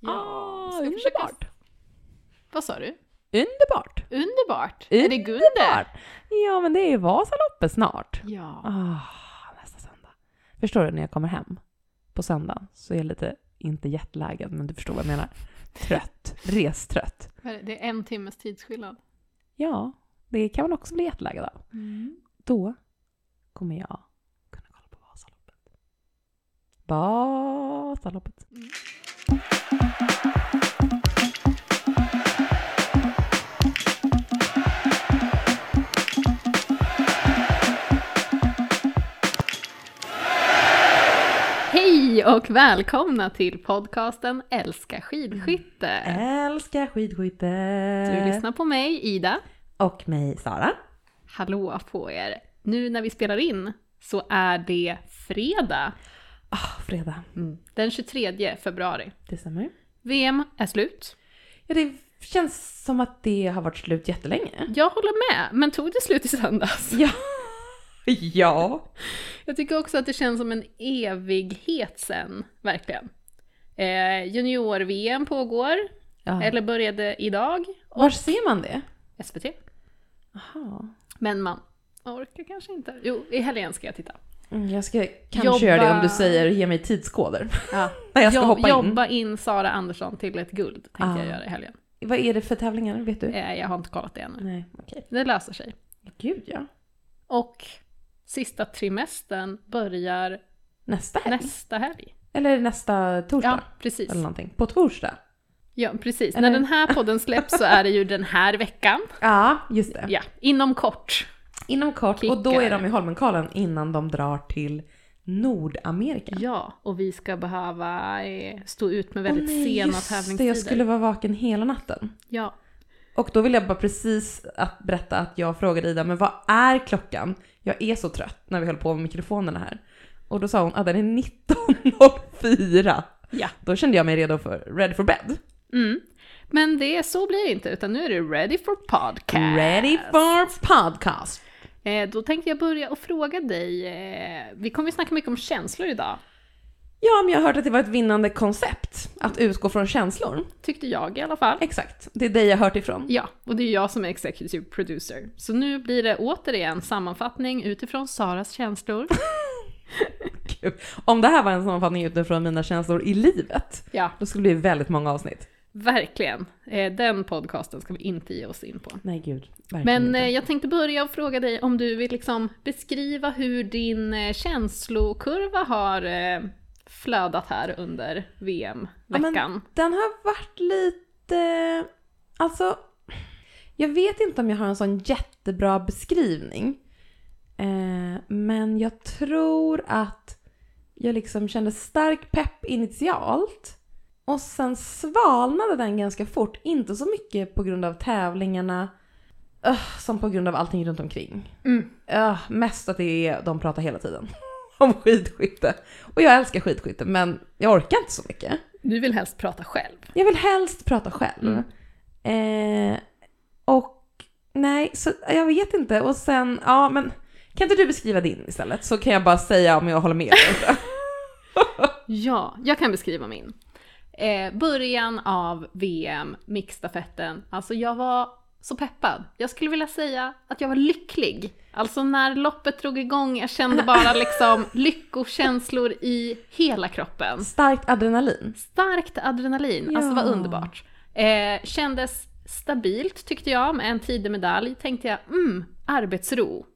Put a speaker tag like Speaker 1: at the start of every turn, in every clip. Speaker 1: Ja,
Speaker 2: Ah,
Speaker 1: ska jag försöka-
Speaker 2: underbart.
Speaker 1: Vad sa du?
Speaker 2: Underbart.
Speaker 1: Underbart! Är det Gunder?
Speaker 2: Underbart. Ja, men det är ju Vasaloppet snart.
Speaker 1: Ja.
Speaker 2: Ah, nästa söndag. Förstår du när jag kommer hem på söndag så är jag lite, inte jetlaggad, men du förstår vad jag menar. Trött. Restrött.
Speaker 1: Vad är det? Det är en timmes tidsskillnad.
Speaker 2: Ja, det kan man också bli jetlaggad av.
Speaker 1: Mm.
Speaker 2: Då kommer jag kunna kolla på Vasaloppet. Vasaloppet.
Speaker 1: Mm. Hej och välkomna till podcasten Älska skidskytte!
Speaker 2: Älskar skidskytte!
Speaker 1: Du lyssnar på mig, Ida.
Speaker 2: Och mig, Sara.
Speaker 1: Hallå på er! Nu när vi spelar in så är det fredag
Speaker 2: Ah, fredag.
Speaker 1: den 23 februari.
Speaker 2: Det stämmer.
Speaker 1: VM är slut.
Speaker 2: Ja, det känns som att det har varit slut jättelänge.
Speaker 1: Jag håller med, men tog det slut i söndags?
Speaker 2: Ja. ja.
Speaker 1: Jag tycker också att det känns som en evighet sen, verkligen. Eh, Junior-VM pågår, eller började idag,
Speaker 2: Var ser man det?
Speaker 1: SVT.
Speaker 2: Aha.
Speaker 1: Men man orkar kanske inte. Jo, i helgen ska jag titta.
Speaker 2: Mm, Jag ska kanske
Speaker 1: Jobba-
Speaker 2: göra det om du säger ge mig tidskoder.
Speaker 1: Ja.
Speaker 2: När jag ska hoppa in.
Speaker 1: jobba in Sara Andersson till ett guld, tänkte
Speaker 2: Ah.
Speaker 1: jag göra i helgen.
Speaker 2: Vad är det för tävlingar? Vet du?
Speaker 1: Eh, jag har inte kollat det ännu.
Speaker 2: Nej, okej.
Speaker 1: Det löser sig.
Speaker 2: Gud ja.
Speaker 1: Och sista trimestern börjar
Speaker 2: Nästa helg?
Speaker 1: nästa helg.
Speaker 2: Eller nästa torsdag?
Speaker 1: Ja, precis.
Speaker 2: Eller någonting. På torsdag?
Speaker 1: Ja, precis.
Speaker 2: Eller-
Speaker 1: När den här podden släpps så är det ju den här veckan.
Speaker 2: Ja, just det.
Speaker 1: Ja, inom kort.
Speaker 2: Inom kort. Och då
Speaker 1: Kickar.
Speaker 2: är de i Holmenkollen innan de drar till Nordamerika.
Speaker 1: Ja, och vi ska behöva eh, stå ut med väldigt
Speaker 2: Åh, nej,
Speaker 1: sena
Speaker 2: just
Speaker 1: tävlingstider.
Speaker 2: det. Jag skulle vara vaken hela natten.
Speaker 1: Ja,
Speaker 2: Och då vill jag bara precis att berätta att jag frågade Ida, men vad är klockan? Jag är så trött när vi höll på med mikrofonerna här. Och då sa hon att den är 19.04.
Speaker 1: Ja.
Speaker 2: Då kände jag mig redo för ready for bed.
Speaker 1: mm. Men det, så blir det inte, utan nu är det ready for podcast.
Speaker 2: Ready for podcast.
Speaker 1: Eh, då tänkte jag börja och fråga dig, eh, vi kommer ju snacka mycket om känslor idag,
Speaker 2: Ja, men jag har hört att det var ett vinnande koncept att utgå från känslor.
Speaker 1: tyckte jag i alla fall.
Speaker 2: Exakt, det är det jag har hört ifrån.
Speaker 1: Ja, och det är jag som är executive producer. Så nu blir det återigen sammanfattning utifrån Saras känslor.
Speaker 2: Kul. Om det här var en sammanfattning utifrån mina känslor i livet,
Speaker 1: Ja,
Speaker 2: då skulle det bli väldigt många avsnitt.
Speaker 1: verkligen. Eh, den podcasten ska vi inte ge oss in på.
Speaker 2: Nej, gud. Verkligen
Speaker 1: Men eh,
Speaker 2: inte.
Speaker 1: jag tänkte börja och fråga dig om du vill liksom beskriva hur din eh, känslokurva har eh, flödat här under
Speaker 2: Ja, men-
Speaker 1: VM-veckan.
Speaker 2: Den har varit lite... Alltså, jag vet inte om jag har en sån jättebra beskrivning. Eh, men jag tror att jag liksom kände stark pepp initialt. Och sen svalnade den ganska fort. Inte så mycket på grund av tävlingarna öh, som på grund av allting runt omkring.
Speaker 1: Mm.
Speaker 2: Öh, mest att det är, de pratar hela tiden om skidskytte. Och jag älskar skidskytte men jag orkar inte så mycket.
Speaker 1: Du vill helst prata själv.
Speaker 2: Jag vill helst prata själv. Eh, och nej, så jag vet inte. Och sen, ja men kan inte du beskriva din istället? Så kan jag bara säga om jag håller med eller inte.
Speaker 1: Ja, jag kan beskriva min. Eh, början av VM, mixstafetten. Alltså jag var så peppad. Jag skulle vilja säga att jag var lycklig. Alltså när loppet drog igång, jag kände bara liksom lyckokänslor i hela kroppen.
Speaker 2: Starkt adrenalin.
Speaker 1: Starkt adrenalin, alltså det var
Speaker 2: Ja.
Speaker 1: underbart. Eh, kändes stabilt tyckte jag med en tidig medalj. Tänkte jag, mm, arbetsro.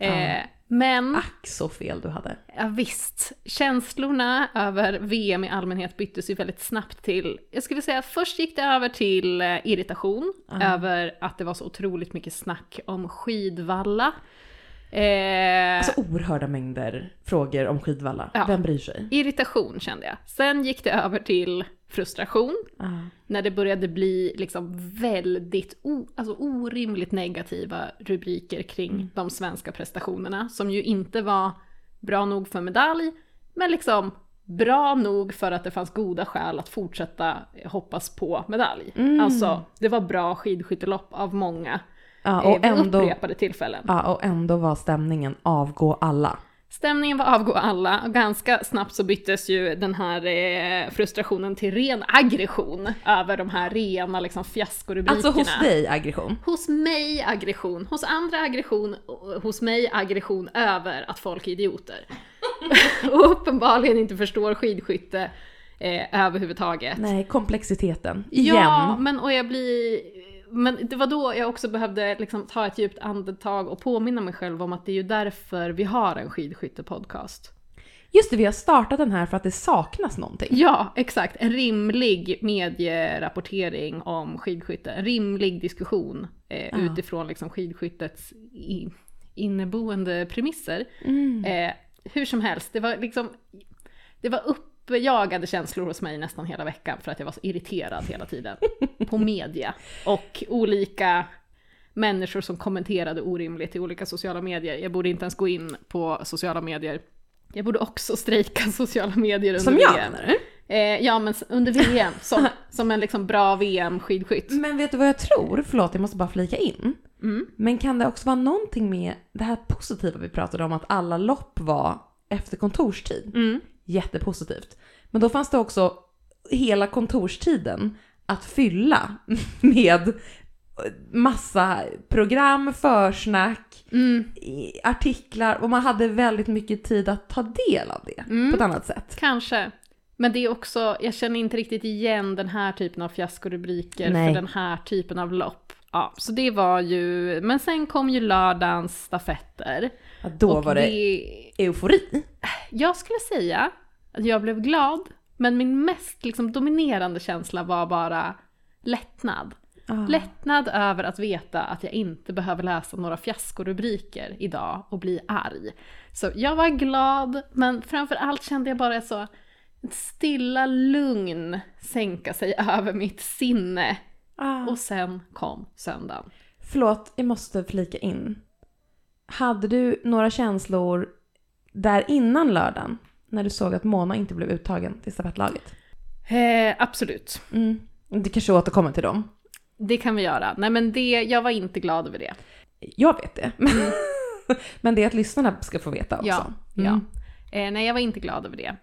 Speaker 1: Eh,
Speaker 2: Ja. Ah.
Speaker 1: Men
Speaker 2: Ack så fel du hade.
Speaker 1: ja, visst, känslorna över VM i allmänhet byttes ju väldigt snabbt till, jag skulle säga först gick det över till eh, irritation
Speaker 2: Ja.
Speaker 1: över att det var så otroligt mycket snack om skidvalla. Eh,
Speaker 2: Alltså oerhörda mängder frågor om skidvalla.
Speaker 1: Ja.
Speaker 2: Vem bryr sig?
Speaker 1: Irritation kände jag. Sen gick det över till frustration.
Speaker 2: Ja.
Speaker 1: när det började bli liksom väldigt o, alltså orimligt negativa rubriker kring
Speaker 2: Mm.
Speaker 1: de svenska prestationerna, som ju inte var bra nog för medalj, men liksom bra nog för att det fanns goda skäl att fortsätta eh, hoppas på medalj.
Speaker 2: Mm.
Speaker 1: Alltså, det var bra skidskyttelopp av många
Speaker 2: Ja,
Speaker 1: eh,
Speaker 2: och,
Speaker 1: vid
Speaker 2: ändå,
Speaker 1: upprepade tillfällen.
Speaker 2: ja, och ändå var stämningen avgå alla.
Speaker 1: Stämningen var avgå alla och ganska snabbt så byttes ju den här eh, frustrationen till ren aggression över de här rena liksom fiaskorubrikerna.
Speaker 2: Alltså hos dig aggression.
Speaker 1: Hos mig aggression, hos andra aggression, och hos mig aggression över att folk är idioter. och uppenbarligen inte förstår skidskytte eh, överhuvudtaget.
Speaker 2: Nej, komplexiteten. Igen.
Speaker 1: Ja, men och jag blir... Men det var då jag också behövde liksom ta ett djupt andetag och påminna mig själv om att det är ju därför vi har en skidskyttepodcast.
Speaker 2: Just det, vi har startat den här för att det saknas någonting.
Speaker 1: Ja, exakt. En rimlig medierapportering om skidskytte. En rimlig diskussion eh,
Speaker 2: Ja.
Speaker 1: utifrån liksom skidskyttets i, inneboende premisser.
Speaker 2: Mm.
Speaker 1: Eh, hur som helst, det var liksom... Det var uppjagade känslor hos mig nästan hela veckan för att jag var så irriterad hela tiden. på media. Och olika människor som kommenterade orimligt i olika sociala medier. Jag borde inte ens gå in på sociala medier. Jag borde också strejka sociala medier under
Speaker 2: Som jag
Speaker 1: VM.
Speaker 2: menar du?
Speaker 1: Eh, ja, men s- under VM. Som, som en liksom bra VM-skidskytt.
Speaker 2: Men vet du vad jag tror? Förlåt, jag måste bara flika in.
Speaker 1: Mm.
Speaker 2: Men kan det också vara någonting med det här positiva vi pratade om, att alla lopp var efter kontorstid?
Speaker 1: Mm.
Speaker 2: Jättepositivt. Men då fanns det också hela kontorstiden att fylla med massa program, försnack,
Speaker 1: Mm.
Speaker 2: i- artiklar och man hade väldigt mycket tid att ta del av det
Speaker 1: Mm.
Speaker 2: på ett annat sätt.
Speaker 1: Kanske. Men det är också, jag känner inte riktigt igen den här typen av fiaskorubriker
Speaker 2: Nej.
Speaker 1: för den här typen av lopp. Ja, så det var ju, men sen kom ju lördagens stafetter.
Speaker 2: Ja, då
Speaker 1: Och
Speaker 2: var det, eufori.
Speaker 1: Jag skulle säga att jag blev glad, men min mest liksom, dominerande känsla var bara lättnad. Lättnad över att veta att jag inte behöver läsa några fiaskorubriker idag och bli arg. Så jag var glad, men framför allt kände jag bara så ett stilla lugn sänka sig över mitt sinne.
Speaker 2: Ah.
Speaker 1: Och sen kom söndagen.
Speaker 2: Förlåt, jag måste flika in. Hade du några känslor där innan lördagen när du såg att Mona inte blev uttagen till stafettlaget?
Speaker 1: Eh, absolut,
Speaker 2: Mm. Du kanske återkommer till dem.
Speaker 1: det kan vi göra. Nej men det, jag var inte glad över det.
Speaker 2: Jag vet det. Men det är att lyssnarna ska få veta också.
Speaker 1: Mm. Ja,
Speaker 2: Mm.
Speaker 1: ja. Eh, nej, jag var inte glad över det.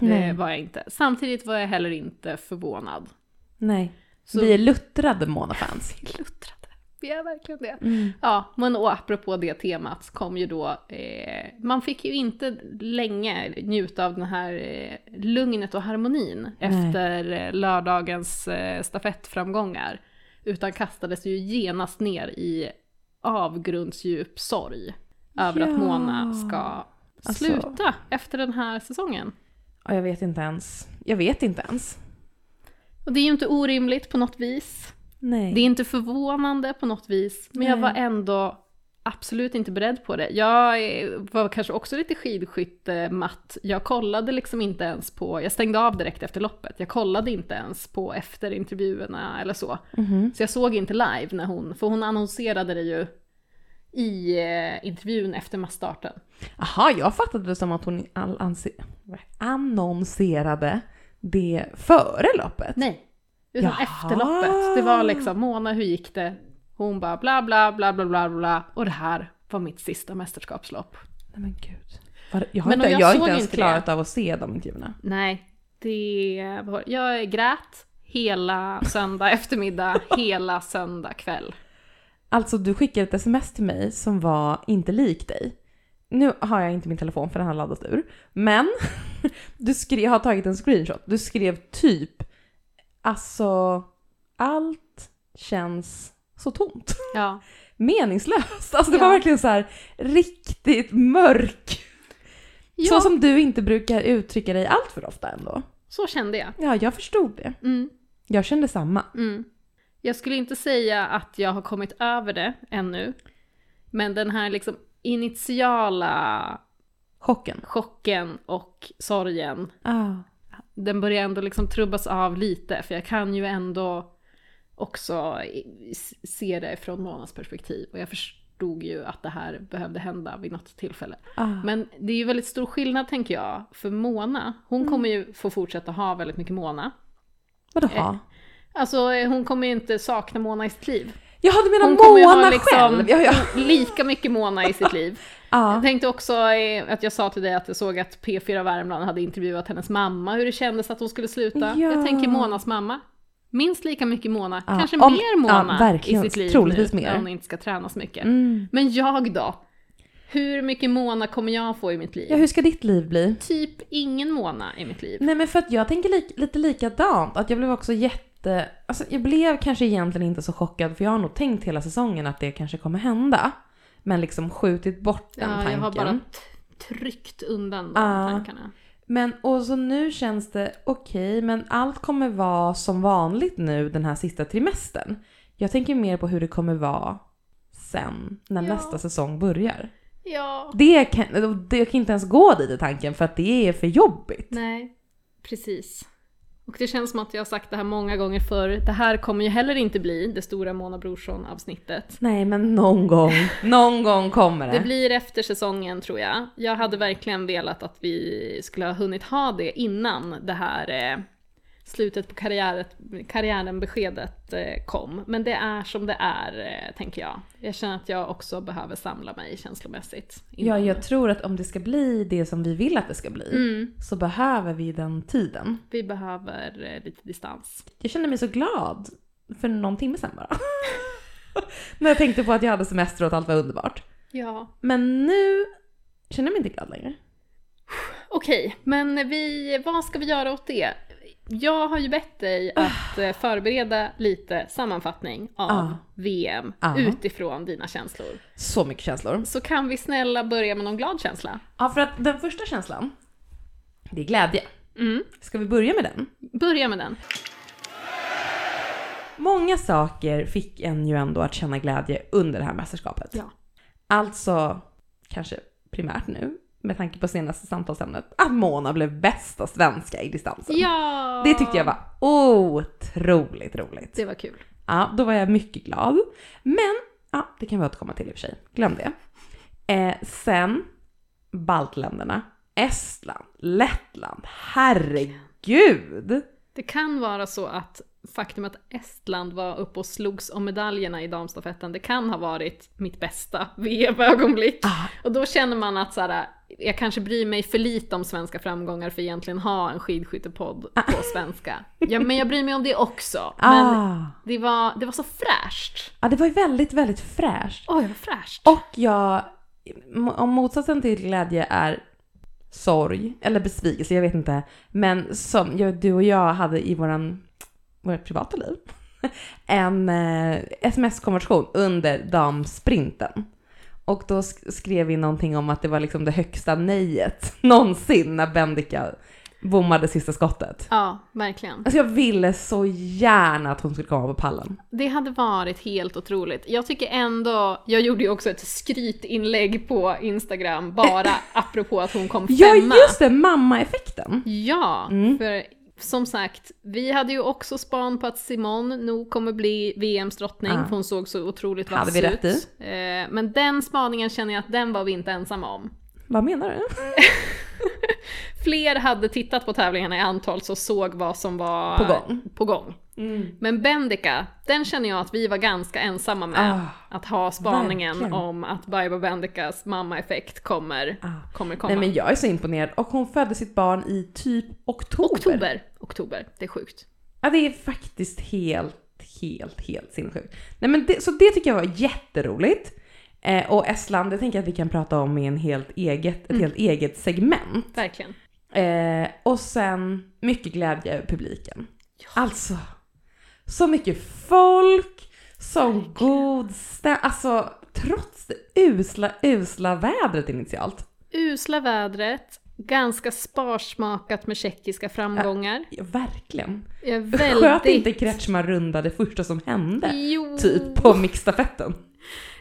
Speaker 2: Nej.
Speaker 1: Det var jag inte. Samtidigt var jag heller inte förvånad.
Speaker 2: Nej.
Speaker 1: Så
Speaker 2: Vi är luttrade Mona-fans.
Speaker 1: kluttrade. Vi är verkligen det.
Speaker 2: Mm.
Speaker 1: Ja, men och apropå det temat så kom ju då, eh, man fick ju inte länge njuta av den här eh, lugnet och harmonin efter eh, lördagens eh, stafettframgångar. Utan kastades ju genast ner i avgrundsdjup sorg över
Speaker 2: Ja.
Speaker 1: att Mona ska
Speaker 2: Alltså.
Speaker 1: sluta efter den här säsongen.
Speaker 2: Ja, jag vet inte ens. Jag vet inte ens.
Speaker 1: Och det är ju inte orimligt på något vis.
Speaker 2: Nej.
Speaker 1: Det är inte förvånande på något vis, men jag
Speaker 2: Nej.
Speaker 1: var ändå absolut inte beredd på det. Jag eh, var kanske också lite skidskyttematt. Jag kollade liksom inte ens på, jag stängde av direkt efter loppet. Jag kollade inte ens på efterintervjuerna eller så.
Speaker 2: Mhm.
Speaker 1: Så jag såg inte live när hon, för hon annonserade det ju i eh, intervjun efter massstarten.
Speaker 2: Aha, jag fattade det som att hon all- anse- annonserade det före loppet.
Speaker 1: Nej. Utan
Speaker 2: Jaha.
Speaker 1: efter loppet. Det var liksom Mona, hur gick det? Hon bara bla bla bla bla bla bla och det här var mitt sista mästerskapslopp.
Speaker 2: Nej men gud. Var, jag har
Speaker 1: Men
Speaker 2: inte,
Speaker 1: och jag
Speaker 2: jag har
Speaker 1: såg
Speaker 2: inte ens
Speaker 1: inte det.
Speaker 2: klarat av att se de intervjuerna.
Speaker 1: Nej, det var... Jag grät hela söndag eftermiddag, hela söndag kväll.
Speaker 2: Alltså du skickade ett sms till mig som var inte lik dig. Nu har jag inte min telefon för den har laddats ur. Men du skrev, jag har tagit en screenshot. Du skrev typ alltså allt känns så tomt.
Speaker 1: Ja.
Speaker 2: Meningslöst. Alltså det var
Speaker 1: Ja.
Speaker 2: verkligen så här riktigt mörk.
Speaker 1: ja
Speaker 2: Så
Speaker 1: så,
Speaker 2: som du inte brukar uttrycka dig allt för ofta ändå.
Speaker 1: kände jag.
Speaker 2: Ja, jag förstod det.
Speaker 1: Mm,
Speaker 2: Jag kände samma.
Speaker 1: mm. Jag skulle inte säga att jag har kommit över det ännu. Men den här liksom initiala
Speaker 2: Chocken.
Speaker 1: chocken och sorgen
Speaker 2: Ah.
Speaker 1: den börjar ändå liksom trubbas av lite, för jag kan ju ändå också i- s- se det från Monas perspektiv. Och jag förstod ju att det här behövde hända vid något tillfälle.
Speaker 2: Ah.
Speaker 1: Men det är ju väldigt stor skillnad tänker jag, för Mona, hon
Speaker 2: Mm.
Speaker 1: kommer ju få fortsätta ha väldigt mycket Mona.
Speaker 2: Vadå
Speaker 1: Eh.
Speaker 2: ha?
Speaker 1: Alltså eh, hon kommer ju inte sakna Mona i sitt liv.
Speaker 2: Jaha, du menar
Speaker 1: Hon kommer ju ha
Speaker 2: Mona
Speaker 1: liksom-
Speaker 2: själv? Ja, ja.
Speaker 1: Lika mycket Mona i sitt liv. Jag
Speaker 2: ja.
Speaker 1: tänkte också eh, att jag sa till dig att jag såg att P4 Värmland hade intervjuat hennes mamma, hur det kändes att hon skulle sluta.
Speaker 2: Ja.
Speaker 1: Jag tänker Monas mamma. Minst lika mycket Mona,
Speaker 2: Ja,
Speaker 1: kanske
Speaker 2: om-
Speaker 1: mer Mona
Speaker 2: ja, verkligen.
Speaker 1: i sitt liv
Speaker 2: Troligtvis
Speaker 1: nu,
Speaker 2: mer.
Speaker 1: när hon inte ska träna så mycket.
Speaker 2: Mm.
Speaker 1: Men jag då? Hur mycket Mona kommer jag få i mitt liv?
Speaker 2: ja, hur ska ditt liv bli?
Speaker 1: Typ ingen Mona i mitt liv.
Speaker 2: Nej men för att jag tänker lik, lite likadant. Att jag blev också jätte... Alltså jag blev kanske egentligen inte så chockad för jag har nog tänkt hela säsongen att det kanske kommer hända. Men liksom skjutit bort den
Speaker 1: Ja,
Speaker 2: tanken.
Speaker 1: jag har bara t- tryckt undan de
Speaker 2: Ja.
Speaker 1: tankarna.
Speaker 2: Men och så nu känns det okej men allt kommer vara som vanligt nu den här sista trimestern. Jag tänker mer på hur det kommer vara sen när
Speaker 1: Ja.
Speaker 2: nästa säsong börjar.
Speaker 1: Ja.
Speaker 2: Det kan, och det jag kan inte ens gå dit i tanken för att det är för jobbigt.
Speaker 1: Nej, precis. Och det känns som att jag har sagt det här många gånger förr. Det här kommer ju heller inte bli det stora Mona Brorsson-avsnittet.
Speaker 2: Nej men någon gång, någon gång kommer det.
Speaker 1: Det blir efter säsongen tror jag. Jag hade verkligen velat att vi skulle ha hunnit ha det innan det här eh, slutet på karriäret, karriären-beskedet eh, kom. Men det är som det är, eh, tänker jag. Jag känner att jag också behöver samla mig känslomässigt.
Speaker 2: Ja,
Speaker 1: innan.
Speaker 2: jag tror att om det ska bli det som vi vill att det ska bli
Speaker 1: Mm,
Speaker 2: så behöver vi den tiden.
Speaker 1: vi behöver eh, lite distans.
Speaker 2: Jag kände mig så glad för någon timme sedan bara. När jag tänkte på att jag hade semester och att allt var underbart.
Speaker 1: Ja,
Speaker 2: Men nu känner jag mig inte glad längre.
Speaker 1: Okej, men vi, vad ska vi göra åt det? Jag har ju bett dig att eh, förbereda lite sammanfattning av
Speaker 2: Ah.
Speaker 1: VM
Speaker 2: Ah.
Speaker 1: utifrån dina känslor.
Speaker 2: Så mycket känslor.
Speaker 1: Så kan vi snälla börja med någon glad känsla?
Speaker 2: Ja, för att den första känslan, det är glädje.
Speaker 1: Mm.
Speaker 2: Ska vi börja med den?
Speaker 1: Börja med den.
Speaker 2: Många saker fick en ju ändå att känna glädje under det här mästerskapet.
Speaker 1: Ja.
Speaker 2: Alltså, kanske primärt nu, med tanke på senaste samtalsämnet, att Mona blev bästa svenska i distansen.
Speaker 1: Ja!
Speaker 2: Det tyckte jag var otroligt roligt.
Speaker 1: Det var kul.
Speaker 2: Ja, då var jag mycket glad. Men, ja, det kan vi återkomma till i och för sig. Glöm det. Eh, sen, baltländerna, Estland, Lettland, herregud!
Speaker 1: Det kan vara så att faktum att Estland var uppe och slogs om medaljerna i damstafetten, det kan ha varit mitt bästa VM-ögonblick.
Speaker 2: Ah,
Speaker 1: Och då känner man att så här, jag kanske bryr mig för lite om svenska framgångar för att egentligen ha en skidskyttepodd på svenska. Ja, men jag bryr mig om det också. Men
Speaker 2: ah.
Speaker 1: det var, det var så fräscht.
Speaker 2: ja, det var ju väldigt, väldigt fräscht.
Speaker 1: Oj, vad fräscht.
Speaker 2: Och jag, om motsatsen till glädje är sorg eller besvikelse, jag vet inte. Men som jag, du och jag hade i våran, vårt privata liv. En eh, sms-konversation under damsprinten. Och då sk- skrev vi någonting om att det var liksom det högsta nejet någonsin när Bendika bommade sista skottet.
Speaker 1: Ja, verkligen.
Speaker 2: Alltså jag ville så gärna att hon skulle komma på pallen.
Speaker 1: Det hade varit helt otroligt. Jag tycker ändå, jag gjorde ju också ett skrytinlägg på Instagram bara apropå att hon kom femma.
Speaker 2: Ja just det, mamma-effekten.
Speaker 1: Ja,
Speaker 2: Mm.
Speaker 1: för som sagt, vi hade ju också span på att Simone nog kommer bli VMs drottning,
Speaker 2: Ja.
Speaker 1: för hon såg så otroligt
Speaker 2: Hade
Speaker 1: vass
Speaker 2: vi
Speaker 1: ut.
Speaker 2: rätt i?
Speaker 1: Eh, Men den spaningen känner jag att den var vi inte ensamma om.
Speaker 2: Vad menar du?
Speaker 1: Fler hade tittat på tävlingarna i antal så såg vad som var
Speaker 2: På gång. Mm.
Speaker 1: på gång. Men Bendika, den känner jag att vi var ganska ensamma med.
Speaker 2: Ah.
Speaker 1: Att ha spaningen
Speaker 2: Verkligen.
Speaker 1: om att Baiba Bendikas mamma-effekt kommer,
Speaker 2: Ah.
Speaker 1: kommer komma.
Speaker 2: Nej men jag är så imponerad. Och hon födde sitt barn i typ oktober.
Speaker 1: Oktober, oktober, det är sjukt.
Speaker 2: Ja det är faktiskt helt, helt, helt sinnessjukt. Nej men det, så det tycker jag var jätteroligt. Eh, och Estland, det tänker jag att vi kan prata om i en helt eget, ett
Speaker 1: Mm.
Speaker 2: helt eget segment.
Speaker 1: Verkligen.
Speaker 2: Eh, och sen mycket glädje över publiken. Alltså, så mycket folk, sån god stämning. Alltså trots det usla, usla vädret initialt.
Speaker 1: usla vädret, ganska sparsmakat med tjeckiska framgångar.
Speaker 2: Ja, verkligen.
Speaker 1: Jag är
Speaker 2: Väldigt... Sköt inte
Speaker 1: väldigt...
Speaker 2: Kretschmar runda det första som hände?
Speaker 1: Jo,
Speaker 2: Typ på mixstafetten.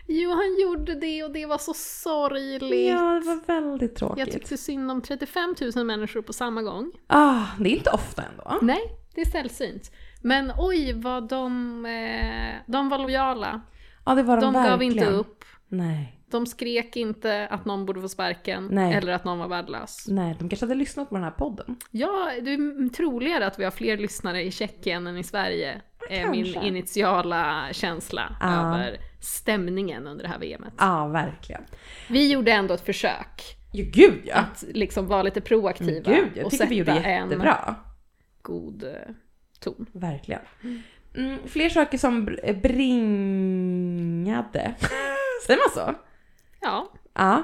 Speaker 1: jo, han gjorde det och det var så sorgligt.
Speaker 2: Ja, det var väldigt tråkigt.
Speaker 1: Jag tyckte synd om 35 000 människor på samma gång.
Speaker 2: ah, det är inte ofta ändå.
Speaker 1: Nej, det är sällsynt. Men oj vad de, eh, de var lojala.
Speaker 2: Ja, det var
Speaker 1: De
Speaker 2: de,
Speaker 1: gav
Speaker 2: verkligen.
Speaker 1: inte upp.
Speaker 2: Nej,
Speaker 1: De skrek inte att någon borde få sparken
Speaker 2: Nej.
Speaker 1: eller att någon var värdelös.
Speaker 2: nej, de kanske hade lyssnat på den här podden.
Speaker 1: Ja, det är troligare att vi har fler lyssnare i Tjeckien än i Sverige. eh, min
Speaker 2: kanske.
Speaker 1: initiala känsla
Speaker 2: Ja.
Speaker 1: över stämningen under det här VMet.
Speaker 2: Ja, verkligen.
Speaker 1: Vi gjorde ändå ett försök
Speaker 2: Jo, gud ja!
Speaker 1: att liksom vara lite
Speaker 2: Men
Speaker 1: proaktiva
Speaker 2: Gud, jag
Speaker 1: och
Speaker 2: tycker
Speaker 1: sätta
Speaker 2: vi gjorde
Speaker 1: en
Speaker 2: jättebra.
Speaker 1: god eh, ton.
Speaker 2: Verkligen. Mm, fler saker som br- eh, bringade, säger man så?
Speaker 1: Ja,
Speaker 2: Ja.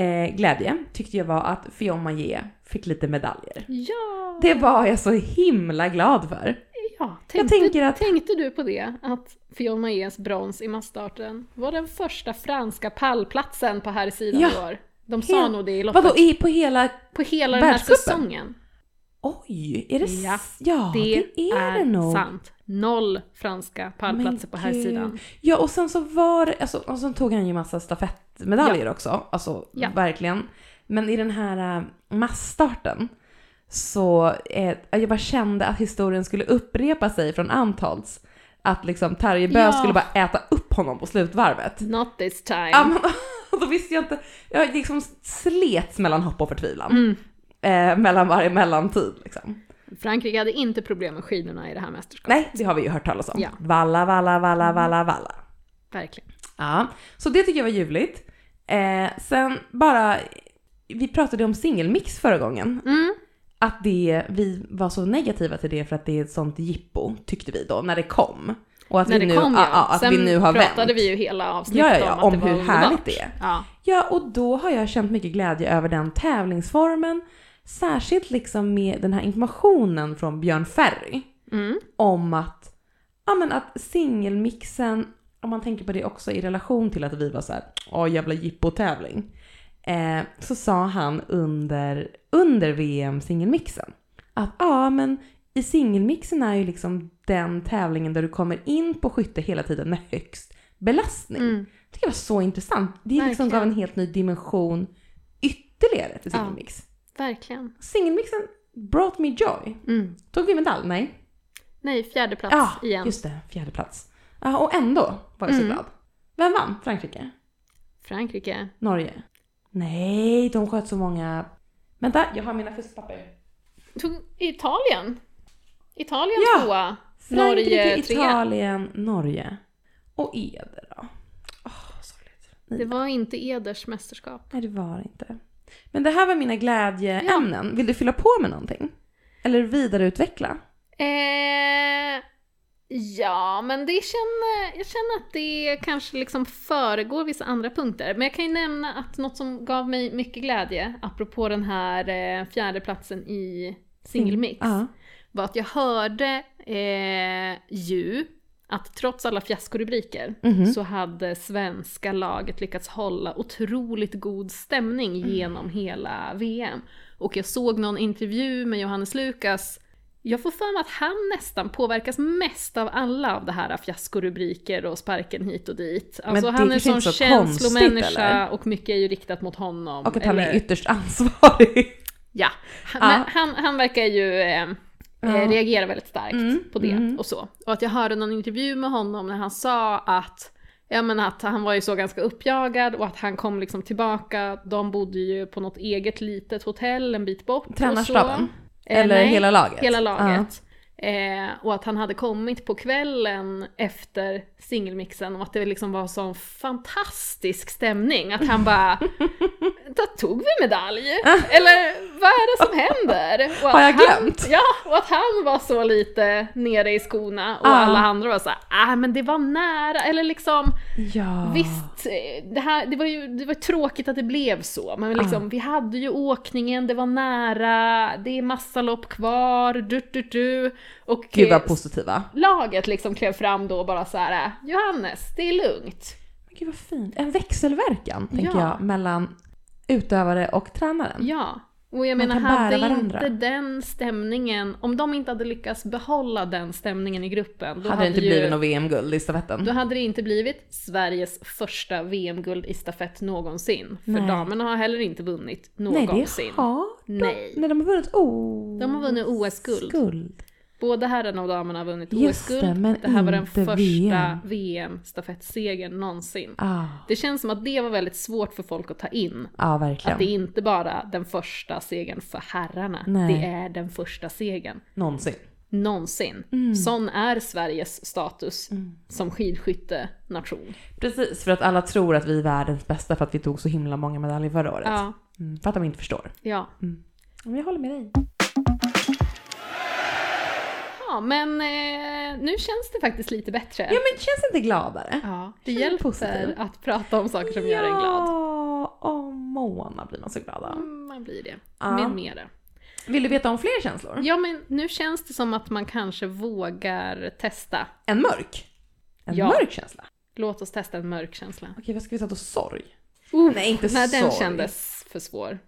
Speaker 2: Eh, glädje tyckte jag var att Fiona Ye fick lite medaljer.
Speaker 1: ja,
Speaker 2: Det var jag så himla glad för.
Speaker 1: ja.
Speaker 2: Jag
Speaker 1: Tänkte,
Speaker 2: tänker att
Speaker 1: tänkte du på det? Att Fiona Maes brons i massstarten var den första franska pallplatsen på här sidan
Speaker 2: Ja.
Speaker 1: i år. De sa
Speaker 2: Helt-
Speaker 1: nog det i loppet.
Speaker 2: Vadå, i, på hela...
Speaker 1: På hela den här
Speaker 2: Världscupen?
Speaker 1: säsongen.
Speaker 2: Oj, är det... s-
Speaker 1: Ja,
Speaker 2: ja det, är det nog.
Speaker 1: sant. Noll franska pallplatser
Speaker 2: Men
Speaker 1: på här
Speaker 2: gud.
Speaker 1: sidan.
Speaker 2: Ja, och sen så var det... Alltså, och sen tog han ju massa stafettmedaljer också. Alltså,
Speaker 1: Ja.
Speaker 2: verkligen. Men i den här äh, massstarten så... Eh, jag bara kände att historien skulle upprepa sig från Antholts. Att liksom Terje Bö
Speaker 1: Ja.
Speaker 2: skulle bara äta upp honom på slutvarvet.
Speaker 1: Not this time.
Speaker 2: Ja, men, och då visste jag inte. Jag liksom slets mellan hopp och förtvivlan.
Speaker 1: Mm.
Speaker 2: Eh, mellan varje mellantid liksom.
Speaker 1: Frankrike hade inte problem med skidorna i det här mästerskapet.
Speaker 2: Nej, det har vi ju hört talas om.
Speaker 1: Ja. Mm.
Speaker 2: Valla, valla, valla, valla, valla.
Speaker 1: Verkligen.
Speaker 2: Ja, så det tycker jag var ljuvligt. Eh, sen bara, vi pratade om singelmix förra gången.
Speaker 1: Mm.
Speaker 2: Att det, vi var så negativa till det för att det är ett sånt jippo, tyckte vi då, när det kom. Och att
Speaker 1: När
Speaker 2: vi
Speaker 1: det
Speaker 2: nu,
Speaker 1: kom
Speaker 2: ja, ja, att
Speaker 1: Sen
Speaker 2: vi nu har
Speaker 1: pratade
Speaker 2: vänt.
Speaker 1: vi ju hela avsnittet
Speaker 2: Ja, ja, ja,
Speaker 1: om, att
Speaker 2: om
Speaker 1: det
Speaker 2: hur
Speaker 1: var
Speaker 2: härligt
Speaker 1: underbart.
Speaker 2: det är.
Speaker 1: Ja.
Speaker 2: Ja, och då har jag känt mycket glädje över den tävlingsformen. Särskilt liksom med den här informationen från Björn Ferry.
Speaker 1: Mm.
Speaker 2: om att, ja men att singelmixen, om man tänker på det också i relation till att vi var så här, åh jävla jippotävling. Eh, så sa han under, under VM singelmixen att ja men i singelmixen är ju liksom den tävlingen där du kommer in på skytte hela tiden med högst belastning.
Speaker 1: Mm.
Speaker 2: Det tycker jag var så intressant. Det liksom
Speaker 1: Verkligen.
Speaker 2: gav en helt ny dimension ytterligare till
Speaker 1: Ja.
Speaker 2: singelmix.
Speaker 1: Verkligen.
Speaker 2: Singelmixen brought me joy.
Speaker 1: Mm.
Speaker 2: Tog vi medalj? Nej.
Speaker 1: Nej, fjärde plats
Speaker 2: ja,
Speaker 1: igen.
Speaker 2: just det. Fjärde plats. Ja, och ändå var jag så
Speaker 1: Mm.
Speaker 2: glad. Vem vann? Frankrike?
Speaker 1: Frankrike.
Speaker 2: Norge? Nej, de sköt så många... Vänta, jag har mina fuskpapper.
Speaker 1: Tog Italien. Italien
Speaker 2: Ja.
Speaker 1: tvåa.
Speaker 2: Frankrike,
Speaker 1: Norge trea.
Speaker 2: Italien, Norge. Och Eder då? Åh, sorgligt.
Speaker 1: Det var inte Eders mästerskap.
Speaker 2: Nej, det var det inte. Men det här var mina glädjeämnen. Vill du fylla på med någonting? Eller vidareutveckla?
Speaker 1: Eh, ja, men det känner, jag känner att det kanske liksom föregår vissa andra punkter. Men jag kan ju nämna att något som gav mig mycket glädje, apropå den här eh, fjärdeplatsen i singelmix,
Speaker 2: Mm, Ja.
Speaker 1: var att jag hörde eh, ju att trots alla fiaskorubriker
Speaker 2: Mhm.
Speaker 1: så hade svenska laget lyckats hålla otroligt god stämning
Speaker 2: Mm.
Speaker 1: genom hela VM. Och jag såg någon intervju med Johannes Lukas. Jag får för mig att han nästan påverkas mest av alla av det här fiaskorubriker och sparken hit och dit. Alltså
Speaker 2: det
Speaker 1: han är en
Speaker 2: kanske
Speaker 1: sån
Speaker 2: inte så konstigt,
Speaker 1: känslomänniska
Speaker 2: eller?
Speaker 1: och mycket är ju riktat mot honom.
Speaker 2: Och att han
Speaker 1: eller-
Speaker 2: är ytterst ansvarig.
Speaker 1: Ja, han,
Speaker 2: Ja.
Speaker 1: men han, han verkar ju eh, eh,
Speaker 2: Ja.
Speaker 1: reagera väldigt starkt
Speaker 2: Mm,
Speaker 1: på det
Speaker 2: mm.
Speaker 1: och så. Och att jag hörde någon intervju med honom när han sa att Ja men att han var ju så ganska uppjagad och att han kom liksom tillbaka, de bodde ju på något eget litet hotell en bit bort. och så.
Speaker 2: Tränarstaben?
Speaker 1: Eh,
Speaker 2: Eller
Speaker 1: nej,
Speaker 2: hela laget? Ah.
Speaker 1: Hela
Speaker 2: Ja.
Speaker 1: laget. Eh, och att han hade kommit på kvällen efter singelmixen och att det liksom var sån fantastisk stämning. Att han bara, där tog vi medalj! Eller vad är det som händer? Och
Speaker 2: Har
Speaker 1: att
Speaker 2: jag
Speaker 1: han-
Speaker 2: glömt?
Speaker 1: Ja, och att han var så lite nere i skorna och
Speaker 2: Ja.
Speaker 1: alla andra var såhär, ah men det var nära, eller liksom
Speaker 2: Ja.
Speaker 1: Visst, eh, det, här, det var ju det var tråkigt att det blev så,
Speaker 2: Ah.
Speaker 1: men liksom, vi hade ju åkningen, det var nära, det är massa lopp kvar, du, du, du. Och
Speaker 2: Gud
Speaker 1: eh,
Speaker 2: vad positiva.
Speaker 1: laget liksom klev fram då och bara så här: Johannes, det är lugnt.
Speaker 2: Men gud vad fint. En växelverkan, tänker
Speaker 1: Ja.
Speaker 2: jag, mellan utövare och tränaren.
Speaker 1: Ja. Och jag
Speaker 2: Man
Speaker 1: menar,
Speaker 2: kan bära
Speaker 1: hade
Speaker 2: varandra.
Speaker 1: inte den stämningen, om de inte hade lyckats behålla den stämningen i gruppen, då
Speaker 2: hade det inte
Speaker 1: ju,
Speaker 2: blivit något VM-guld i stafetten.
Speaker 1: Då hade det inte blivit Sveriges första VM-guld i stafett någonsin. För
Speaker 2: Nej.
Speaker 1: damerna har heller inte vunnit
Speaker 2: Nej,
Speaker 1: någonsin.
Speaker 2: det har de.
Speaker 1: Nej.
Speaker 2: Nej, de har vunnit OS.
Speaker 1: De har vunnit OS-guld.
Speaker 2: Guld.
Speaker 1: Både herrarna och damerna har vunnit
Speaker 2: Just det,
Speaker 1: OS-guld.
Speaker 2: men
Speaker 1: det här var den
Speaker 2: inte
Speaker 1: första
Speaker 2: VM. Ah.
Speaker 1: VM-stafettsegern någonsin.
Speaker 2: Ja,
Speaker 1: Det känns som att det var väldigt svårt för folk att ta in.
Speaker 2: ja
Speaker 1: Att det är
Speaker 2: verkligen.
Speaker 1: inte bara den första segern för herrarna,
Speaker 2: Nej.
Speaker 1: det är den första segern.
Speaker 2: Någonsin.
Speaker 1: någonsin.
Speaker 2: Mm.
Speaker 1: Sån är Sveriges status som skidskyttenation.
Speaker 2: Precis, för att alla tror att vi är världens bästa för att vi tog så himla många medaljer förra året.
Speaker 1: Ja,
Speaker 2: Mm, för att de inte förstår.
Speaker 1: ja.
Speaker 2: Mm. Men jag håller med dig.
Speaker 1: ja men eh, nu känns det faktiskt lite bättre.
Speaker 2: Ja men känns inte gladare?
Speaker 1: Ja, det
Speaker 2: Känner
Speaker 1: hjälper
Speaker 2: positiv.
Speaker 1: att prata om saker som gör en glad.
Speaker 2: Ja, åh Mona blir man så glad av.
Speaker 1: Mm, Man blir det.
Speaker 2: Ja.
Speaker 1: Med mera.
Speaker 2: Vill du veta om fler känslor?
Speaker 1: Ja men nu känns det som att man kanske vågar testa.
Speaker 2: En mörk? En
Speaker 1: Ja.
Speaker 2: mörk känsla?
Speaker 1: Låt oss testa en mörk känsla.
Speaker 2: Okej, vad ska vi säga då? Sorg?
Speaker 1: Uh,
Speaker 2: Oh, Nej, inte
Speaker 1: nej den
Speaker 2: sorg.
Speaker 1: kändes för svår.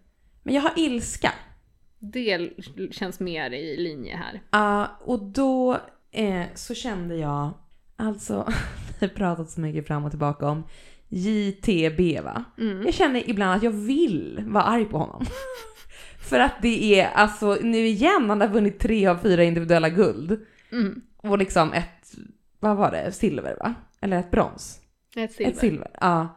Speaker 2: Men jag har ilska.
Speaker 1: Det l- känns mer i linje här.
Speaker 2: Ja, Ah, och då eh, så kände jag, alltså vi har pratat så mycket fram och tillbaka om JTB va? Jag känner ibland att jag vill vara arg på honom. För att det är, alltså nu igen, han har vunnit tre av fyra individuella guld.
Speaker 1: Mm.
Speaker 2: Och liksom ett, vad var det, silver va? Eller ett brons?
Speaker 1: Ett silver.
Speaker 2: Ett silver, ja.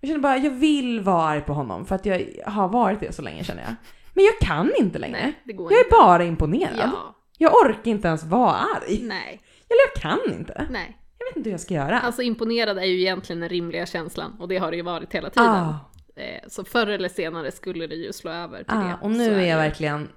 Speaker 2: Jag känner bara, jag vill vara arg på honom för att jag har varit det så länge känner jag. Men jag kan inte längre.
Speaker 1: Nej, det går
Speaker 2: Jag
Speaker 1: inte.
Speaker 2: är bara imponerad.
Speaker 1: Ja,
Speaker 2: Jag orkar inte ens vara arg.
Speaker 1: nej,
Speaker 2: Eller jag kan inte.
Speaker 1: nej.
Speaker 2: Jag vet inte hur jag ska göra.
Speaker 1: Alltså imponerad är ju egentligen den rimliga känslan och det har det ju varit hela tiden.
Speaker 2: ah,
Speaker 1: Eh, Så förr eller senare skulle det ju slå över till
Speaker 2: ah,
Speaker 1: det.
Speaker 2: och
Speaker 1: Så
Speaker 2: nu är
Speaker 1: det ju.
Speaker 2: jag verkligen...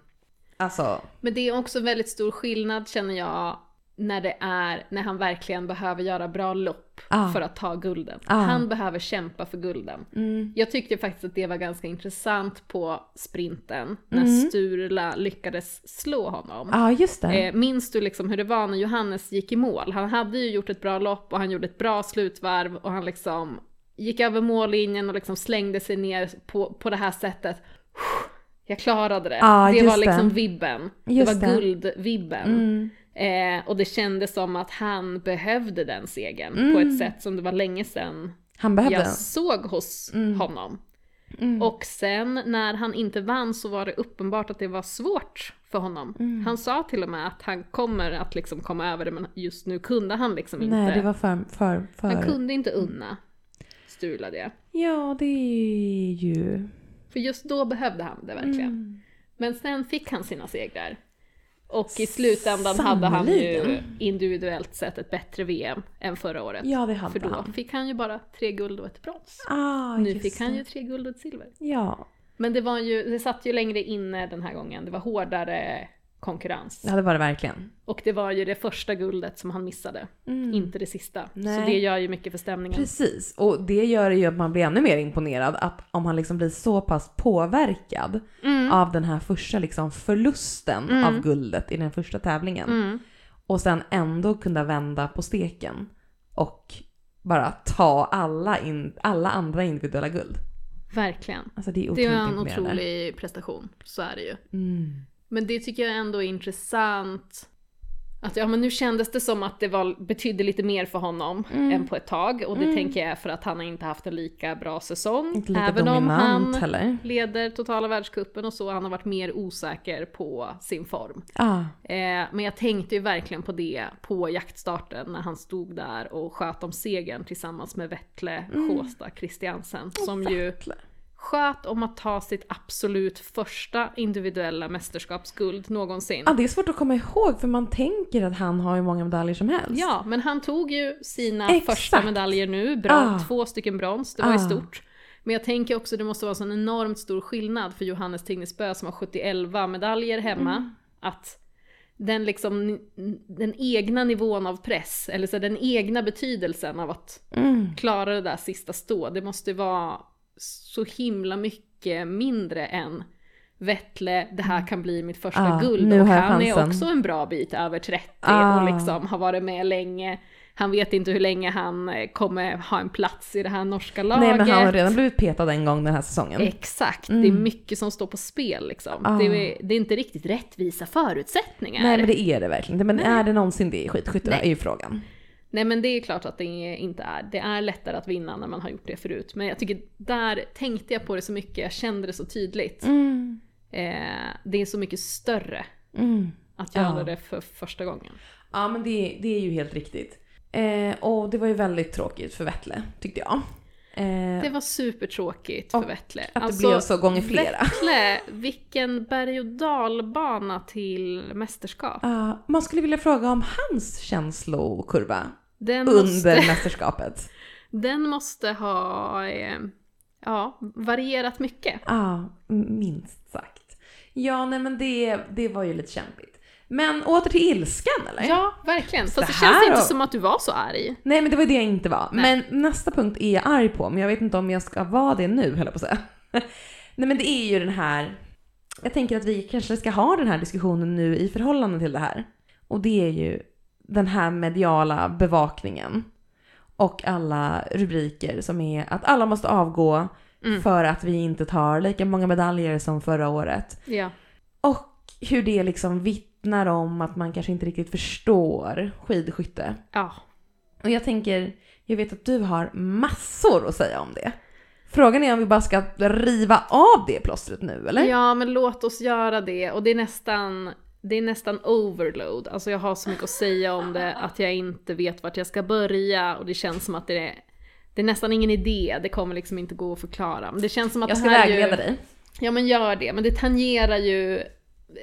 Speaker 2: Alltså,
Speaker 1: Men det är också en väldigt stor skillnad känner jag när det är när han verkligen behöver göra bra lopp
Speaker 2: Ah.
Speaker 1: för att ta gulden.
Speaker 2: Ah.
Speaker 1: Han behöver kämpa för gulden.
Speaker 2: mm,
Speaker 1: Jag tyckte faktiskt att det var ganska intressant på sprinten när
Speaker 2: Mm.
Speaker 1: Sturla lyckades slå honom.
Speaker 2: ah, just det.
Speaker 1: Eh, minns du liksom hur det var när Johannes gick i mål? Han hade ju gjort ett bra lopp och han gjorde ett bra slutvarv och han liksom gick över mållinjen och liksom slängde sig ner på, på det här sättet. Jag klarade det.
Speaker 2: Ja,
Speaker 1: det
Speaker 2: just
Speaker 1: var liksom
Speaker 2: det.
Speaker 1: vibben.
Speaker 2: Just
Speaker 1: det
Speaker 2: det.
Speaker 1: var guldvibben.
Speaker 2: mm,
Speaker 1: Eh, och det kändes som att han behövde den segern på
Speaker 2: Mm.
Speaker 1: ett sätt som det var länge sedan
Speaker 2: han behövde
Speaker 1: jag
Speaker 2: den.
Speaker 1: såg hos
Speaker 2: Mm.
Speaker 1: honom.
Speaker 2: Mm.
Speaker 1: Och sen när han inte vann så var det uppenbart att det var svårt för honom.
Speaker 2: Mm.
Speaker 1: Han sa till och med att han kommer att liksom komma över det men just nu kunde han liksom
Speaker 2: Nej,
Speaker 1: inte.
Speaker 2: det var för... för, för.
Speaker 1: Han kunde inte unna Sturla det.
Speaker 2: Ja, det är ju...
Speaker 1: För just då behövde han det verkligen.
Speaker 2: Mm.
Speaker 1: Men sen fick han sina segrar. Och i slutändan hade han ju
Speaker 2: Sannoliken.
Speaker 1: individuellt sett ett bättre VM än förra året.
Speaker 2: Ja, det hade
Speaker 1: För då
Speaker 2: han.
Speaker 1: fick han ju bara tre guld och ett brons.
Speaker 2: Ah,
Speaker 1: nu
Speaker 2: just
Speaker 1: fick han
Speaker 2: det.
Speaker 1: ju tre guld och ett silver.
Speaker 2: Ja,
Speaker 1: Men det, var ju, det satt ju längre inne den här gången, det var hårdare konkurrens.
Speaker 2: det hade varit verkligen.
Speaker 1: Och det var ju det första guldet som han missade,
Speaker 2: Mm.
Speaker 1: inte det sista.
Speaker 2: Nej.
Speaker 1: Så det gör ju mycket för stämningen.
Speaker 2: Precis, och det gör ju att man blir ännu mer imponerad att om han liksom blir så pass påverkad
Speaker 1: Mm.
Speaker 2: av den här första liksom förlusten
Speaker 1: Mm.
Speaker 2: av guldet i den första tävlingen
Speaker 1: Mm.
Speaker 2: och sen ändå kunna vända på steken och bara ta alla, in, alla andra individuella guld.
Speaker 1: Verkligen.
Speaker 2: Alltså det är
Speaker 1: Det
Speaker 2: otroligt
Speaker 1: var en
Speaker 2: imponerande.
Speaker 1: otrolig prestation, så är det ju.
Speaker 2: Mm.
Speaker 1: Men det tycker jag ändå är intressant. Att ja, men nu kändes det som att det var, betydde lite mer för honom
Speaker 2: Mm.
Speaker 1: än på ett tag. Och det
Speaker 2: Mm.
Speaker 1: tänker jag är för att han har inte haft en lika bra säsong.
Speaker 2: Inte lika
Speaker 1: även om
Speaker 2: dominant
Speaker 1: han
Speaker 2: heller.
Speaker 1: leder totala världskuppen och så, han har varit mer osäker på sin form.
Speaker 2: Ah,
Speaker 1: Eh, men jag tänkte ju verkligen på det på jaktstarten när han stod där och sköt om segern tillsammans med Vettle,
Speaker 2: Mm.
Speaker 1: Sjåstad, Christiansen. Som ju
Speaker 2: Vettle.
Speaker 1: sköt om att ta sitt absolut första individuella mästerskapsguld någonsin.
Speaker 2: ah, det är svårt att komma ihåg för man tänker att han har hur många medaljer som helst.
Speaker 1: Ja, men han tog ju sina
Speaker 2: Exakt.
Speaker 1: första medaljer nu, bra,
Speaker 2: Ah.
Speaker 1: två stycken brons, det var ju
Speaker 2: Ah.
Speaker 1: stort. Men jag tänker också det måste vara en enormt stor skillnad för Johannes Tingnesbø som har 71 medaljer hemma,
Speaker 2: Mm.
Speaker 1: att den liksom, den egna nivån av press, eller så här, den egna betydelsen av att
Speaker 2: Mm.
Speaker 1: klara det där sista stå, det måste vara så himla mycket mindre än Vettle, det här kan bli mitt första
Speaker 2: Ah,
Speaker 1: guld
Speaker 2: nu
Speaker 1: och
Speaker 2: har jag
Speaker 1: han är
Speaker 2: chansen.
Speaker 1: också en bra bit över 30
Speaker 2: Ah.
Speaker 1: och liksom har varit med länge. Han vet inte hur länge han eh, kommer ha en plats i det här norska laget.
Speaker 2: Nej men han har redan blivit petad en gång den här säsongen.
Speaker 1: Exakt, det är
Speaker 2: Mm.
Speaker 1: mycket som står på spel liksom.
Speaker 2: Ah.
Speaker 1: Det, är, det är inte riktigt rättvisa förutsättningar.
Speaker 2: Nej men det är det verkligen inte. Men
Speaker 1: Nej.
Speaker 2: är det någonsin det i skidskytte
Speaker 1: Nej.
Speaker 2: är ju frågan.
Speaker 1: Nej men det är klart att det inte är. Det är lättare att vinna när man har gjort det förut. Men jag tycker, där tänkte jag på det så mycket, jag kände det så tydligt.
Speaker 2: Mm.
Speaker 1: Eh, det är så mycket större
Speaker 2: Mm.
Speaker 1: att göra
Speaker 2: Ja.
Speaker 1: det för första gången.
Speaker 2: Ja men det, det är ju helt riktigt. Eh, och det var ju väldigt tråkigt för Vettle tyckte jag. Eh,
Speaker 1: Det var supertråkigt för
Speaker 2: Och
Speaker 1: Vettle.
Speaker 2: att det blev så gånger flera.
Speaker 1: Vettle, vilken berg och dalbana till mästerskap.
Speaker 2: ja, man skulle vilja fråga om hans känslokurva
Speaker 1: Den måste,
Speaker 2: under mästerskapet.
Speaker 1: den måste ha eh, ja, varierat mycket.
Speaker 2: Ja, minst sagt. Ja, nej men det, det var ju lite kämpigt. Men åter till ilskan eller?
Speaker 1: Ja, verkligen. Fast det,
Speaker 2: Det
Speaker 1: känns
Speaker 2: här
Speaker 1: inte
Speaker 2: då?
Speaker 1: som att du var så arg.
Speaker 2: Nej men det var det jag inte var.
Speaker 1: Nej.
Speaker 2: Men nästa punkt är jag arg på, men jag vet inte om jag ska vara det nu höll jag på att säga. Nej men det är ju den här, jag tänker att vi kanske ska ha den här diskussionen nu i förhållande till det här. Och det är ju den här mediala bevakningen. Och alla rubriker som är att alla måste avgå
Speaker 1: Mm.
Speaker 2: för att vi inte tar lika många medaljer som förra året.
Speaker 1: Ja.
Speaker 2: Och hur det liksom vittnar om att man kanske inte riktigt förstår skidskytte.
Speaker 1: ja.
Speaker 2: Och jag tänker, jag vet att du har massor att säga om det. Frågan är om vi bara ska riva av det plåstret nu eller?
Speaker 1: Ja, men låt oss göra det. Och det är nästan, det är nästan overload. Alltså jag har så mycket att säga om det att jag inte vet vart jag ska börja och det känns som att det är, det är nästan ingen idé. Det kommer liksom inte gå att förklara. Men det känns som att
Speaker 2: jag ska
Speaker 1: det här
Speaker 2: vägleda
Speaker 1: ju,
Speaker 2: dig.
Speaker 1: Ja, men gör det. Men det tangerar ju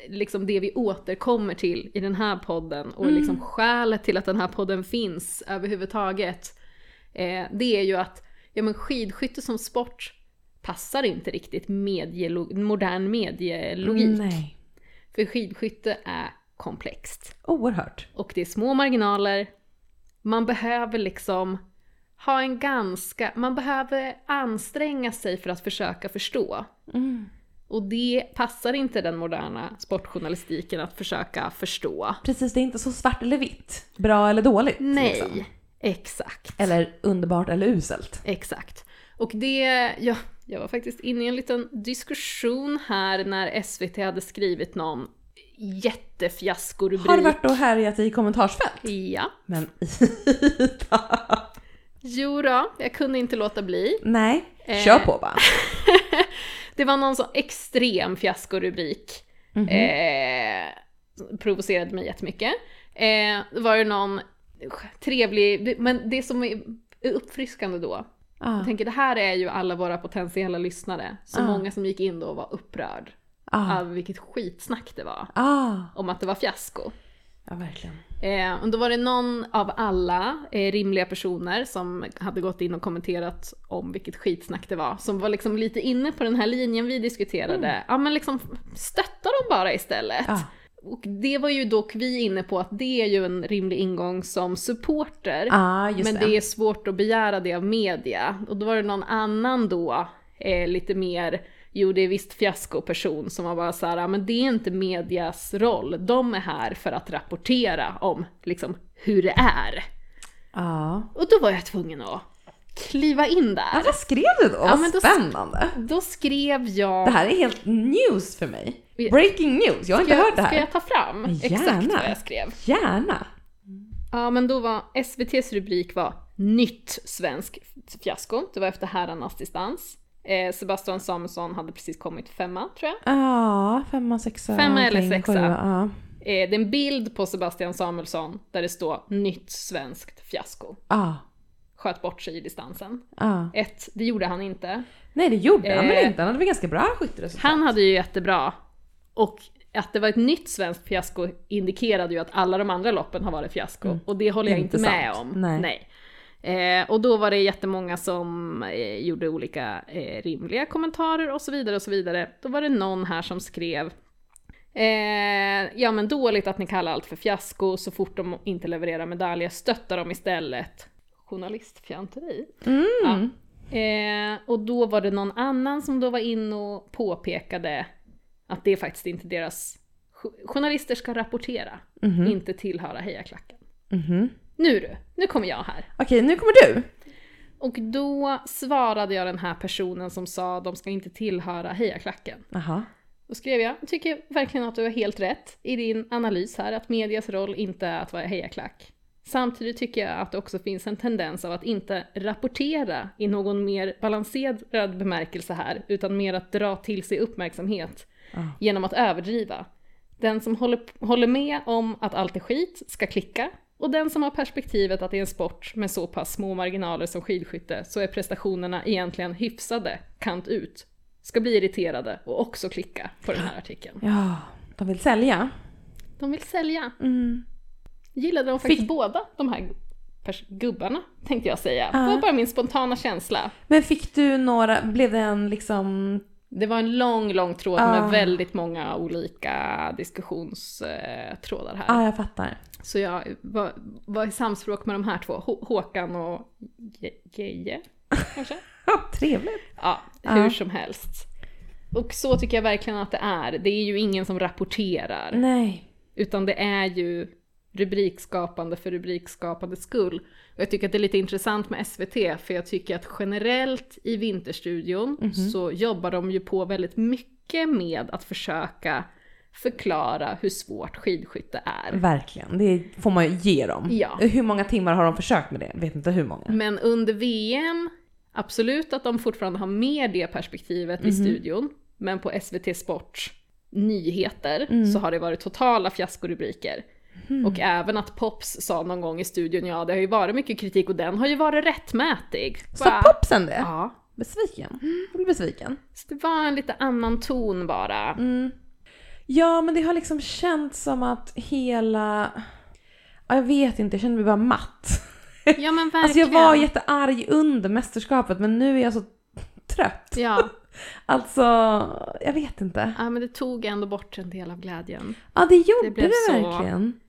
Speaker 1: liksom det vi återkommer till i den här podden och liksom skälet till att den här podden finns överhuvudtaget. Eh, det är ju att ja, men skidskytte som sport passar inte riktigt medielo- modern medielogik.
Speaker 2: Nej.
Speaker 1: För skidskytte är komplext
Speaker 2: Oerhört.
Speaker 1: och det är små marginaler. Man behöver liksom ha en ganska, man behöver anstränga sig för att försöka förstå.
Speaker 2: Mm.
Speaker 1: Och det passar inte den moderna sportjournalistiken att försöka förstå.
Speaker 2: Precis, det är inte så svart eller vitt. Bra eller dåligt.
Speaker 1: Nej,
Speaker 2: liksom.
Speaker 1: exakt.
Speaker 2: Eller underbart eller uselt.
Speaker 1: Exakt. Och det, ja, jag var faktiskt inne i en liten diskussion här när SVT hade skrivit någon jättefiaskorubrik.
Speaker 2: Har du varit och härjat i kommentarsfält?
Speaker 1: Ja.
Speaker 2: Men
Speaker 1: Jo då, jag kunde inte låta bli.
Speaker 2: nej,
Speaker 1: Eh.
Speaker 2: kör på bara.
Speaker 1: Det var någon sån extrem fiaskorubrik.
Speaker 2: Mhm.
Speaker 1: Eh, provocerade mig jättemycket. Eh, det var ju någon trevlig, men det som är uppfriskande då,
Speaker 2: Ah,
Speaker 1: jag tänker det här är ju alla våra potentiella lyssnare, så
Speaker 2: Ah.
Speaker 1: många som gick in då och var upprörd
Speaker 2: ah,
Speaker 1: över vilket skitsnack det var
Speaker 2: ah.
Speaker 1: om att det var fiasko.
Speaker 2: Ja, verkligen.
Speaker 1: Eh, och då var det någon av alla eh, rimliga personer som hade gått in och kommenterat om vilket skitsnack det var, som var liksom lite inne på den här linjen vi diskuterade. Ja men liksom stötta dem bara istället.
Speaker 2: Mm. Ja.
Speaker 1: Och det var ju dock vi inne på att det är ju en rimlig ingång som supporter.
Speaker 2: Ja, Ah, just
Speaker 1: men det. är svårt att begära det av media. Och då var det någon annan då, eh, lite mer, jo det är visst fiaskoperson som var bara så här, "Ah, men det är inte medias roll. De är här för att rapportera om liksom hur det är.
Speaker 2: Ja.
Speaker 1: Och då var jag tvungen att kliva in där.
Speaker 2: Ah. vad skrev du då?
Speaker 1: Ja,
Speaker 2: Vad
Speaker 1: men då-
Speaker 2: spännande.
Speaker 1: Då skrev jag...
Speaker 2: Det här är helt news för mig.
Speaker 1: Vi-
Speaker 2: Breaking news, jag har inte
Speaker 1: ska,
Speaker 2: hört det
Speaker 1: ska
Speaker 2: här.
Speaker 1: jag ta fram exakt
Speaker 2: Gärna.
Speaker 1: vad jag skrev?
Speaker 2: Gärna.
Speaker 1: Ja, men då var SVTs rubrik var “Nytt svensk fiasko”. Det var efter herrarnas distans. Eh, Sebastian Samuelsson hade precis kommit femma, tror jag.
Speaker 2: Ja, femma, sexa.
Speaker 1: Femma eller
Speaker 2: någonting,
Speaker 1: sexa.
Speaker 2: sjua, Ja.
Speaker 1: Eh, det är en bild på Sebastian Samuelsson där det står “Nytt svenskt fiasko”.
Speaker 2: Ja,
Speaker 1: Sköt bort sig i distansen.
Speaker 2: ja.
Speaker 1: Ett, det gjorde han inte.
Speaker 2: Nej det gjorde han
Speaker 1: Eh.
Speaker 2: väl inte, han hade väl ganska bra skytteresultat.
Speaker 1: Han hade ju jättebra. Och att det var ett nytt svenskt fiasko indikerade ju att alla de andra loppen har varit fiasko. Och det håller jag
Speaker 2: Mm. Inte
Speaker 1: inte med
Speaker 2: sant.
Speaker 1: om.
Speaker 2: Nej.
Speaker 1: Eh, och då var det jättemånga som eh, gjorde olika eh, rimliga kommentarer och så vidare och så vidare. Då var det någon här som skrev Eh, ja men dåligt att ni kallar allt för fiasko så fort de inte levererar medaljer, stötta dem istället. Journalistfianteri.
Speaker 2: Mm.
Speaker 1: Eh, och då var det någon annan som då var inne och påpekade att det är faktiskt inte deras... jo- Journalister ska rapportera,
Speaker 2: Mhm.
Speaker 1: inte tillhöra hejaklacken.
Speaker 2: Mhm.
Speaker 1: Nu du, nu kommer jag här.
Speaker 2: Okej, nu kommer du.
Speaker 1: Och då svarade jag den här personen som sa de ska inte tillhöra hejaklacken.
Speaker 2: Jaha.
Speaker 1: Då skrev jag, "Jag tycker verkligen att du har helt rätt i din analys här, att medias roll inte är att vara hejaklack. Samtidigt tycker jag att det också finns en tendens av att inte rapportera i någon mer balanserad bemärkelse här, utan mer att dra till sig uppmärksamhet
Speaker 2: Ja.
Speaker 1: genom att överdriva. Den som håller, håller med om att allt är skit ska klicka, Och den som har perspektivet att det är en sport med så pass små marginaler som skidskytte så är prestationerna egentligen hyfsade kant ut. Ska bli irriterade och också klicka på den här artikeln.
Speaker 2: Ja, de vill sälja.
Speaker 1: De vill sälja.
Speaker 2: Mm.
Speaker 1: Gillade de faktiskt båda de här pers- gubbarna, tänkte jag säga.
Speaker 2: Ja.
Speaker 1: Det var bara min spontana känsla.
Speaker 2: Men fick du några, blev det en liksom...
Speaker 1: Det var en lång, lång tråd med
Speaker 2: Ah.
Speaker 1: väldigt många olika diskussionstrådar här.
Speaker 2: Ja, ah, jag fattar.
Speaker 1: Så jag var, var i samspråk med de här två, Hå- Håkan och Je- Geje, kanske?
Speaker 2: Trevligt.
Speaker 1: Ja,
Speaker 2: Ja.
Speaker 1: hur som helst. Och så tycker jag verkligen att det är. Det är ju ingen som rapporterar,
Speaker 2: Nej.
Speaker 1: utan det är ju rubrikskapande för rubrikskapandets skull. Och jag tycker att det är lite intressant med SVT, för jag tycker att generellt i Vinterstudion så jobbar de ju på väldigt mycket med att försöka förklara hur svårt skidskytte är.
Speaker 2: Verkligen, det får man ju ge dem.
Speaker 1: Ja. Mm.
Speaker 2: Hur många timmar har de försökt med det? Vet inte hur många.
Speaker 1: Men under VM, absolut att de fortfarande har med det perspektivet
Speaker 2: Mhm.
Speaker 1: i studion. Men på SVT Sports nyheter
Speaker 2: Mm.
Speaker 1: så har det varit totala fiaskorubriker.
Speaker 2: Mhm.
Speaker 1: Och även att Pops sa någon gång i studion, ja det har ju varit mycket kritik och den har ju varit rättmätig.
Speaker 2: Sa
Speaker 1: Bara-
Speaker 2: popsen det?
Speaker 1: Ja.
Speaker 2: Besviken. Jag blir besviken.
Speaker 1: Så det var en lite annan ton bara.
Speaker 2: Mm. Ja, men det har liksom känts som att hela... Ja, jag vet inte, jag känner mig bara matt.
Speaker 1: Ja men verkligen.
Speaker 2: Alltså jag var jättearg under mästerskapet men nu är jag så trött.
Speaker 1: ja.
Speaker 2: Alltså, jag vet inte.
Speaker 1: ja, men det tog ändå bort en del av glädjen.
Speaker 2: Ja, det gjorde
Speaker 1: Det
Speaker 2: det,
Speaker 1: blev så.
Speaker 2: verkligen.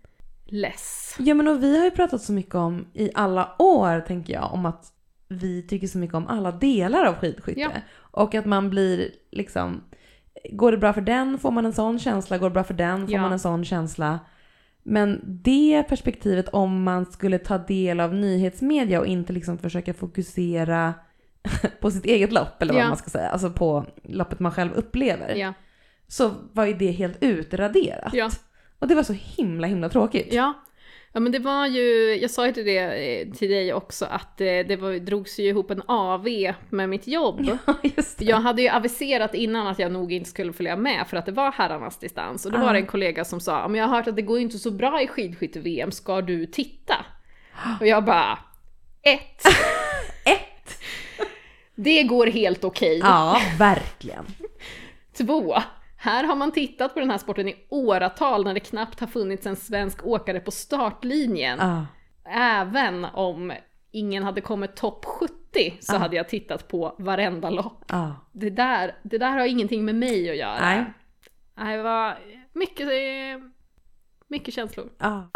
Speaker 1: Less.
Speaker 2: Ja, men och vi har ju pratat så mycket om i alla år, tänker jag, om att vi tycker så mycket om alla delar av skidskytte.
Speaker 1: Ja.
Speaker 2: Och att man blir liksom, går det bra för den får man en sån känsla, går det bra för den får
Speaker 1: Ja.
Speaker 2: man en sån känsla. Men det perspektivet om man skulle ta del av nyhetsmedia och inte liksom försöka fokusera på sitt eget lopp eller vad
Speaker 1: Ja.
Speaker 2: man ska säga, alltså på loppet man själv upplever,
Speaker 1: Ja.
Speaker 2: så var ju det helt utraderat.
Speaker 1: ja.
Speaker 2: Och det var så himla himla tråkigt.
Speaker 1: Ja. Ja men det var ju, jag sa ju till, det, eh, till dig också att eh, det var, drogs ju ihop en AV med mitt jobb.
Speaker 2: Just det.
Speaker 1: Jag hade ju aviserat innan att jag nog inte skulle följa med för att det var herrarnas distans. Och då var det en kollega som sa, "Ja, men jag har hört att det går inte så bra i skidskytte-VM, ska du titta? Och jag bara, ett,
Speaker 2: Ett!
Speaker 1: det går helt okej.
Speaker 2: Ja, verkligen.
Speaker 1: Två, här har man tittat på den här sporten i åratal när det knappt har funnits en svensk åkare på startlinjen.
Speaker 2: Ja.
Speaker 1: Även om ingen hade kommit topp 70 så hade jag tittat på varenda lopp.
Speaker 2: Ja.
Speaker 1: Det där, det där har ingenting med mig att göra.
Speaker 2: Nej.
Speaker 1: Nej, Det var mycket, eh, mycket känslor.
Speaker 2: Ja.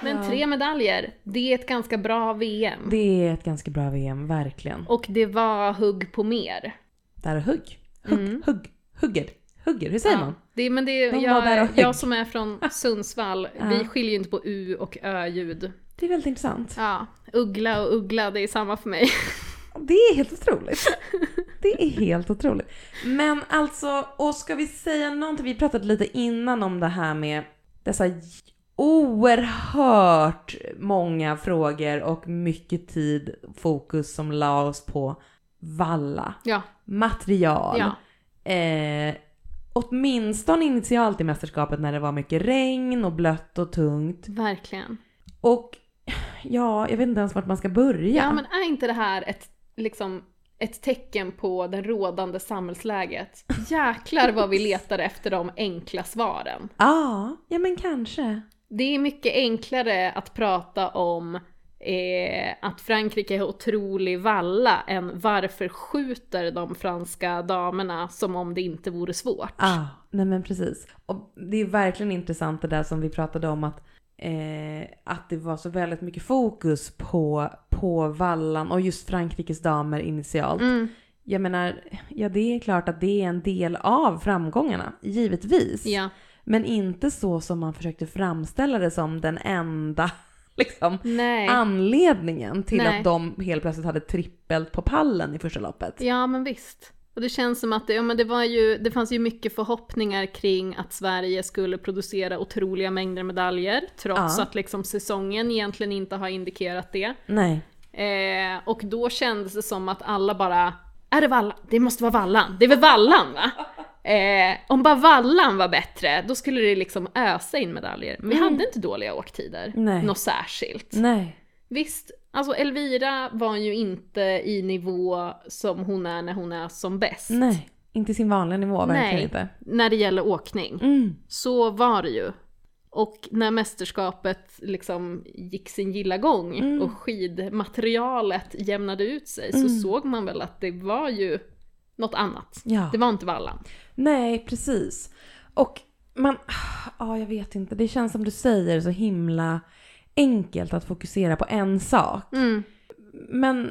Speaker 1: Men
Speaker 2: Ja.
Speaker 1: tre medaljer, det är ett ganska bra VM.
Speaker 2: Det är ett ganska bra VM, verkligen.
Speaker 1: Och det var hugg på mer.
Speaker 2: Där är hugg. Hugg, hugg, hugger, hugger. Hur säger man?
Speaker 1: Det, men det,
Speaker 2: De var där
Speaker 1: jag,
Speaker 2: och högg.
Speaker 1: jag som är från Sundsvall,
Speaker 2: Ja.
Speaker 1: vi skiljer ju inte på u och ö-ljud.
Speaker 2: Det är väldigt intressant.
Speaker 1: Ja, uggla och uggla, det är samma för mig.
Speaker 2: Det är helt otroligt. Det är helt otroligt. Men alltså, och ska vi säga någonting? Vi pratade lite innan om det här med dessa oerhört många frågor och mycket tid, fokus som lades på valla,
Speaker 1: Ja,
Speaker 2: material,
Speaker 1: ja,
Speaker 2: Eh, åtminstone initialt i mästerskapet när det var mycket regn och blött och tungt.
Speaker 1: verkligen.
Speaker 2: Och ja, jag vet inte ens vart man ska börja.
Speaker 1: Ja, men är inte det här ett, liksom, ett tecken på det rådande samhällsläget? Jäklar vad vi letar efter de enkla svaren.
Speaker 2: Ja, Ah, ja men kanske.
Speaker 1: Det är mycket enklare att prata om eh, att Frankrike har otrolig valla än varför skjuter de franska damerna som om det inte vore svårt.
Speaker 2: Ah, nej men precis. Och det är verkligen intressant det där som vi pratade om att, eh, att det var så väldigt mycket fokus på, på vallan och just Frankrikes damer initialt.
Speaker 1: Mm,
Speaker 2: Jag menar, ja det är klart att det är en del av framgångarna, givetvis.
Speaker 1: ja,
Speaker 2: Men inte så som man försökte framställa det som den enda liksom,
Speaker 1: nej.
Speaker 2: anledningen till
Speaker 1: Nej.
Speaker 2: att de helt plötsligt hade trippelt på pallen i första loppet.
Speaker 1: Ja, men visst. Och det känns som att det, ja, men det, var ju, det fanns ju mycket förhoppningar kring att Sverige skulle producera otroliga mängder medaljer, trots
Speaker 2: Ja.
Speaker 1: att liksom säsongen egentligen inte har indikerat det.
Speaker 2: Nej.
Speaker 1: Eh, och då kändes det som att alla bara, är det Vallan? Det måste vara Vallan, det är väl Vallan va? Eh, om bara vallan var bättre, då skulle det liksom ösa in medaljer. Men vi hade inte dåliga åktider.
Speaker 2: Mm. Nej.
Speaker 1: Något särskilt.
Speaker 2: Nej.
Speaker 1: Visst, alltså Elvira var ju inte i nivå som hon är när hon är som bäst.
Speaker 2: Nej. Inte sin vanliga nivå, verkligen
Speaker 1: Nej.
Speaker 2: inte.
Speaker 1: När det gäller åkning.
Speaker 2: Mm.
Speaker 1: Så var det ju. Och när mästerskapet liksom gick sin gilla gång
Speaker 2: Mm.
Speaker 1: och skidmaterialet jämnade ut sig
Speaker 2: Mm.
Speaker 1: så såg man väl att det var ju något annat.
Speaker 2: Ja.
Speaker 1: Det var inte vallan.
Speaker 2: Nej, precis. Och man... Ja, jag vet inte. Det känns som du säger så himla enkelt att fokusera på en sak.
Speaker 1: Mm.
Speaker 2: Men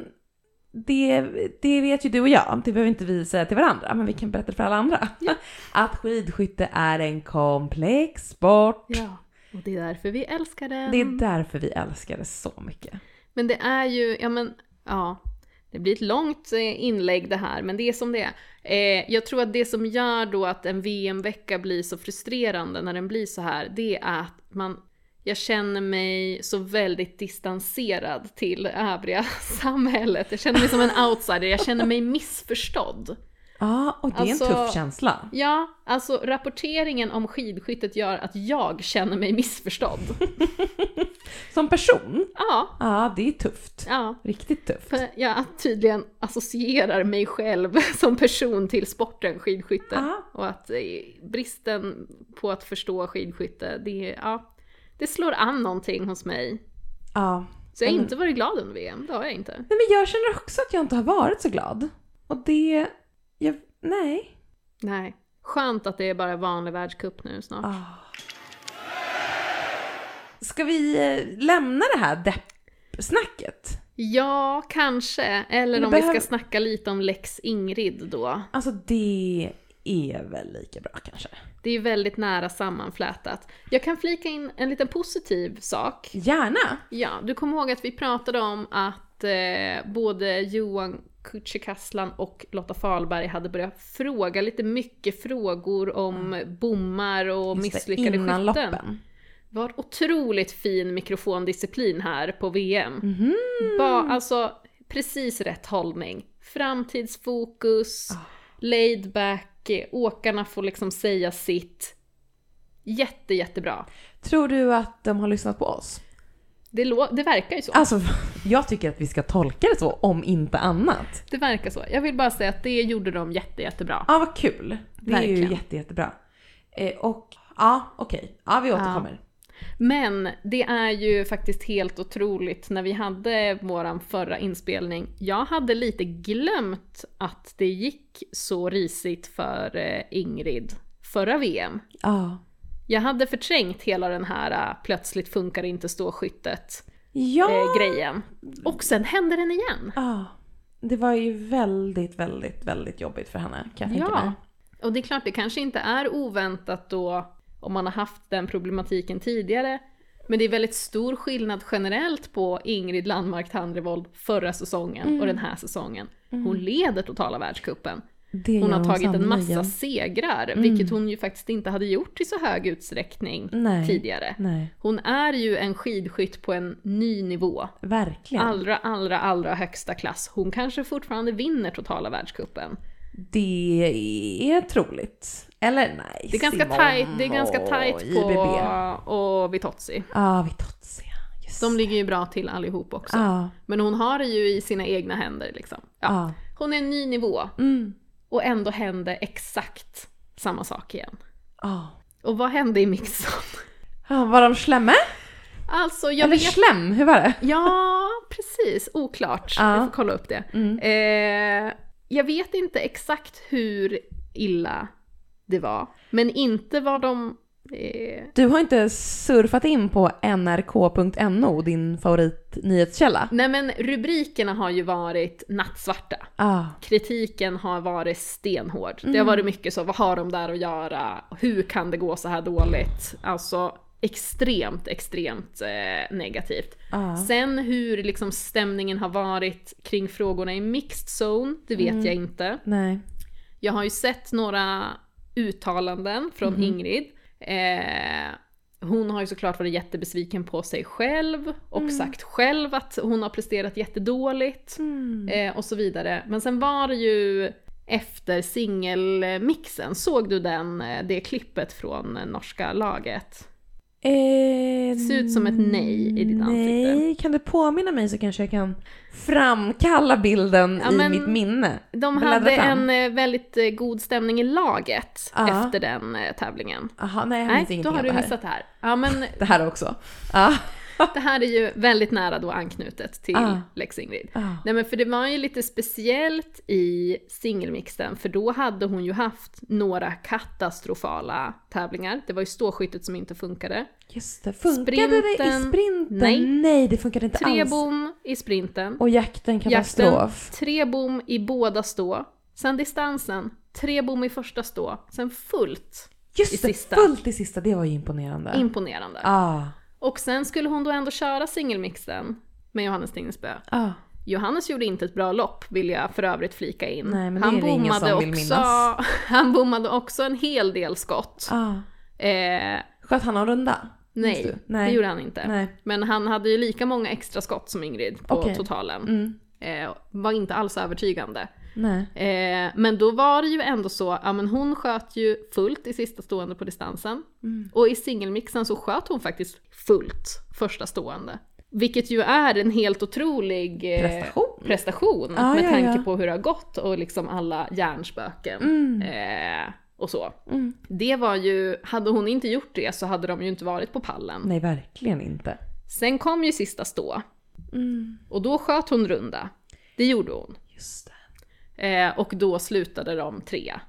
Speaker 2: det, det vet ju du och jag, det behöver inte vi säga till varandra, men vi kan berätta för alla andra. Att skidskytte är en komplex sport.
Speaker 1: Ja. Och det är därför vi älskar den.
Speaker 2: Det är därför vi älskar det så mycket.
Speaker 1: Men det är ju, ja men, ja. Det blir ett långt eh, inlägg det här, men det är som det är. Eh, jag tror att det som gör då att en VM-vecka blir så frustrerande när den blir så här, det är att man, jag känner mig så väldigt distanserad till övriga samhället. Jag känner mig som en outsider, jag känner mig missförstådd.
Speaker 2: Ja, och det är
Speaker 1: Alltså-
Speaker 2: en tuff känsla.
Speaker 1: Ja, alltså rapporteringen om skidskyttet gör att jag känner mig missförstådd.
Speaker 2: Som person,
Speaker 1: Ja,
Speaker 2: ja det är tufft.
Speaker 1: ja.
Speaker 2: Riktigt tufft.
Speaker 1: För jag Typ, tydligen associerar mig själv som person till sporten skidskytte.
Speaker 2: Ja.
Speaker 1: Och att eh, bristen på att förstå skidskytte, det, ja, det slår an någonting hos mig.
Speaker 2: Ja.
Speaker 1: Så jag har
Speaker 2: Mm.
Speaker 1: inte varit glad under VM, det har jag inte.
Speaker 2: Nej men jag känner också att jag inte har varit så glad. Och det, jag, nej.
Speaker 1: Nej. Skönt att det är bara vanlig världscup nu snart.
Speaker 2: Ah. Ska vi eh, lämna det här deppsnacket?
Speaker 1: Ja, kanske. Eller
Speaker 2: Men
Speaker 1: om vi
Speaker 2: behöv-
Speaker 1: ska snacka lite om Lex Ingrid då.
Speaker 2: Alltså det är väl lika bra kanske.
Speaker 1: Det är ju väldigt nära sammanflätat. Jag kan flika in en liten positiv sak.
Speaker 2: Gärna!
Speaker 1: Ja, du kommer ihåg att vi pratade om att eh, både Johan Kücükaslan och Lotta Fahlberg hade börjat fråga lite mycket frågor om bommar och
Speaker 2: Mm. Just det,
Speaker 1: misslyckade
Speaker 2: innan
Speaker 1: skytten.
Speaker 2: loppen.
Speaker 1: Det var otroligt fin mikrofondisciplin här på VM.
Speaker 2: Mhm.
Speaker 1: Ba, alltså, precis rätt hållning. Framtidsfokus,
Speaker 2: Ah.
Speaker 1: laid back, eh, åkarna får liksom säga sitt. Jätte, jättebra.
Speaker 2: Tror du att de har lyssnat på oss?
Speaker 1: Det, lå- det verkar ju så.
Speaker 2: Alltså jag tycker att vi ska tolka det så, om inte annat.
Speaker 1: Det verkar så. Jag vill bara säga att det gjorde de jätte, jättebra.
Speaker 2: Ja vad kul! Det är ju
Speaker 1: Verkligen.
Speaker 2: jätte, jättebra. Eh, och ja, okej. Ja, vi återkommer.
Speaker 1: Men det är ju faktiskt helt otroligt när vi hade våran förra inspelning. Jag hade lite glömt att det gick så risigt för eh, Ingrid förra VM.
Speaker 2: Ja.
Speaker 1: Jag hade förträngt hela den här eh, plötsligt funkar inte stå-skyttet
Speaker 2: Ja!
Speaker 1: eh, grejen. Och sen hände den igen.
Speaker 2: ja. Det var ju väldigt, väldigt, väldigt jobbigt för henne kan jag tänka mig.
Speaker 1: Ja, och det är klart det kanske inte är oväntat då om man har haft den problematiken tidigare. Men det är väldigt stor skillnad generellt på Ingrid Landmark Tandrevold förra säsongen och den här säsongen. Hon leder totala världscupen.
Speaker 2: Det
Speaker 1: Hon
Speaker 2: gör
Speaker 1: har tagit en massa
Speaker 2: sannerligen.
Speaker 1: segrar, vilket hon ju faktiskt inte hade gjort i så hög utsträckning
Speaker 2: Nej.
Speaker 1: tidigare.
Speaker 2: Nej,
Speaker 1: Hon är ju en skidskytt på en ny nivå.
Speaker 2: verkligen.
Speaker 1: Allra, allra, allra högsta klass. Hon kanske fortfarande vinner totala världscupen.
Speaker 2: Det är troligt. Eller nej.
Speaker 1: Det är ganska
Speaker 2: Simon
Speaker 1: tajt, det är ganska
Speaker 2: och
Speaker 1: tajt
Speaker 2: IBB.
Speaker 1: på
Speaker 2: Ja,
Speaker 1: och Vitozzi.
Speaker 2: ah, Vitozia. Just
Speaker 1: De ligger ju bra till allihop också.
Speaker 2: Ja,
Speaker 1: Men hon har det ju i sina egna händer liksom.
Speaker 2: ja.
Speaker 1: Ja. Hon är en ny nivå
Speaker 2: Mm.
Speaker 1: och ändå hände exakt samma sak igen.
Speaker 2: Ah.
Speaker 1: Och vad hände i Mixon?
Speaker 2: Ah, var de slemme?
Speaker 1: Alltså jag
Speaker 2: Eller
Speaker 1: vet...
Speaker 2: slem, hur var det?
Speaker 1: Ja, precis. Oklart.
Speaker 2: Ja.
Speaker 1: Vi får kolla upp det.
Speaker 2: Mm.
Speaker 1: Eh, jag vet inte exakt hur illa det var. Men inte var de... Eh,
Speaker 2: Du har inte surfat in på nrk.no, din favoritnyhetskälla?
Speaker 1: Nej men rubrikerna har ju varit nattsvarta.
Speaker 2: Ah.
Speaker 1: Kritiken har varit stenhård. Det har
Speaker 2: Mm.
Speaker 1: varit mycket så, vad har de där att göra? Hur kan det gå så här dåligt? Alltså extremt, extremt eh, negativt.
Speaker 2: Ah.
Speaker 1: Sen hur liksom stämningen har varit kring frågorna i mixed zone, det vet
Speaker 2: Mm.
Speaker 1: jag inte.
Speaker 2: Nej.
Speaker 1: Jag har ju sett några uttalanden från
Speaker 2: Mm-hmm.
Speaker 1: Ingrid. Eh, hon har ju såklart varit jättebesviken på sig själv och
Speaker 2: Mm.
Speaker 1: sagt själv att hon har presterat jättedåligt
Speaker 2: Mm.
Speaker 1: eh, och så vidare. Men sen var det ju efter singelmixen. Såg du den, eh, det klippet från eh, norska laget?
Speaker 2: Eh,
Speaker 1: Ser ut som ett nej i ditt
Speaker 2: Nej,
Speaker 1: ansikte.
Speaker 2: kan du påminna mig så kanske jag kan framkalla bilden
Speaker 1: Ja,
Speaker 2: i
Speaker 1: men-
Speaker 2: mitt minne.
Speaker 1: De
Speaker 2: Bläddra
Speaker 1: hade
Speaker 2: fram.
Speaker 1: en eh, väldigt eh, god stämning i laget
Speaker 2: Ja.
Speaker 1: efter den eh, tävlingen.
Speaker 2: Aha, nej, jag minns
Speaker 1: Nej, då
Speaker 2: ingenting
Speaker 1: har
Speaker 2: av
Speaker 1: du
Speaker 2: det här.
Speaker 1: missat det här. Ja, men
Speaker 2: Det här också. Ja.
Speaker 1: det här är ju väldigt nära då anknutet till
Speaker 2: Ja.
Speaker 1: Lex Ingrid.
Speaker 2: Ja.
Speaker 1: Nej men för det var ju lite speciellt i singelmixen för då hade hon ju haft några katastrofala tävlingar. Det var ju ståskyttet som inte funkade.
Speaker 2: Just det. Funkade det i
Speaker 1: Sprinten.
Speaker 2: sprinten?
Speaker 1: Nej.
Speaker 2: det funkade inte
Speaker 1: Tre
Speaker 2: alls.
Speaker 1: bom i sprinten.
Speaker 2: Och jakten katastrof.
Speaker 1: Tre bom i båda stå. Sen distansen. Tre bom i första stå. Sen fullt.
Speaker 2: Just
Speaker 1: i
Speaker 2: det,
Speaker 1: sista.
Speaker 2: fullt i sista. Det var ju imponerande.
Speaker 1: Imponerande.
Speaker 2: ah.
Speaker 1: Och sen skulle hon då ändå köra singelmixen med Johannes Tingnesbø.
Speaker 2: Ah.
Speaker 1: Johannes gjorde inte ett bra lopp vill jag för övrigt flika in.
Speaker 2: Nej, men det är det ingen
Speaker 1: bommade
Speaker 2: som vill
Speaker 1: också,
Speaker 2: minnas.
Speaker 1: han bommade också en hel del skott.
Speaker 2: Ah.
Speaker 1: Eh,
Speaker 2: Sköt han någon runda? Minns
Speaker 1: nej,
Speaker 2: du? nej,
Speaker 1: det gjorde han inte.
Speaker 2: Nej.
Speaker 1: Men han hade ju lika många extra skott som Ingrid på
Speaker 2: Okej.
Speaker 1: totalen.
Speaker 2: Mm.
Speaker 1: Eh, var inte alls övertygande.
Speaker 2: Nej.
Speaker 1: Eh, men då var det ju ändå så, ja men hon sköt ju fullt i sista stående på distansen.
Speaker 2: Mm.
Speaker 1: Och i singelmixen så sköt hon faktiskt fullt första stående. Vilket ju är en helt otrolig eh,
Speaker 2: Prestation.
Speaker 1: prestation
Speaker 2: Ja,
Speaker 1: med
Speaker 2: ja,
Speaker 1: tanke
Speaker 2: ja.
Speaker 1: på hur det har gått och liksom alla hjärnspöken.
Speaker 2: Mm.
Speaker 1: Eh, och så.
Speaker 2: Mm.
Speaker 1: Det var ju, hade hon inte gjort det så hade de ju inte varit på pallen.
Speaker 2: Nej, verkligen inte.
Speaker 1: Sen kom ju sista stå
Speaker 2: Mm.
Speaker 1: och då sköt hon runda. Det gjorde hon.
Speaker 2: Just det.
Speaker 1: Eh, och då slutade de trea.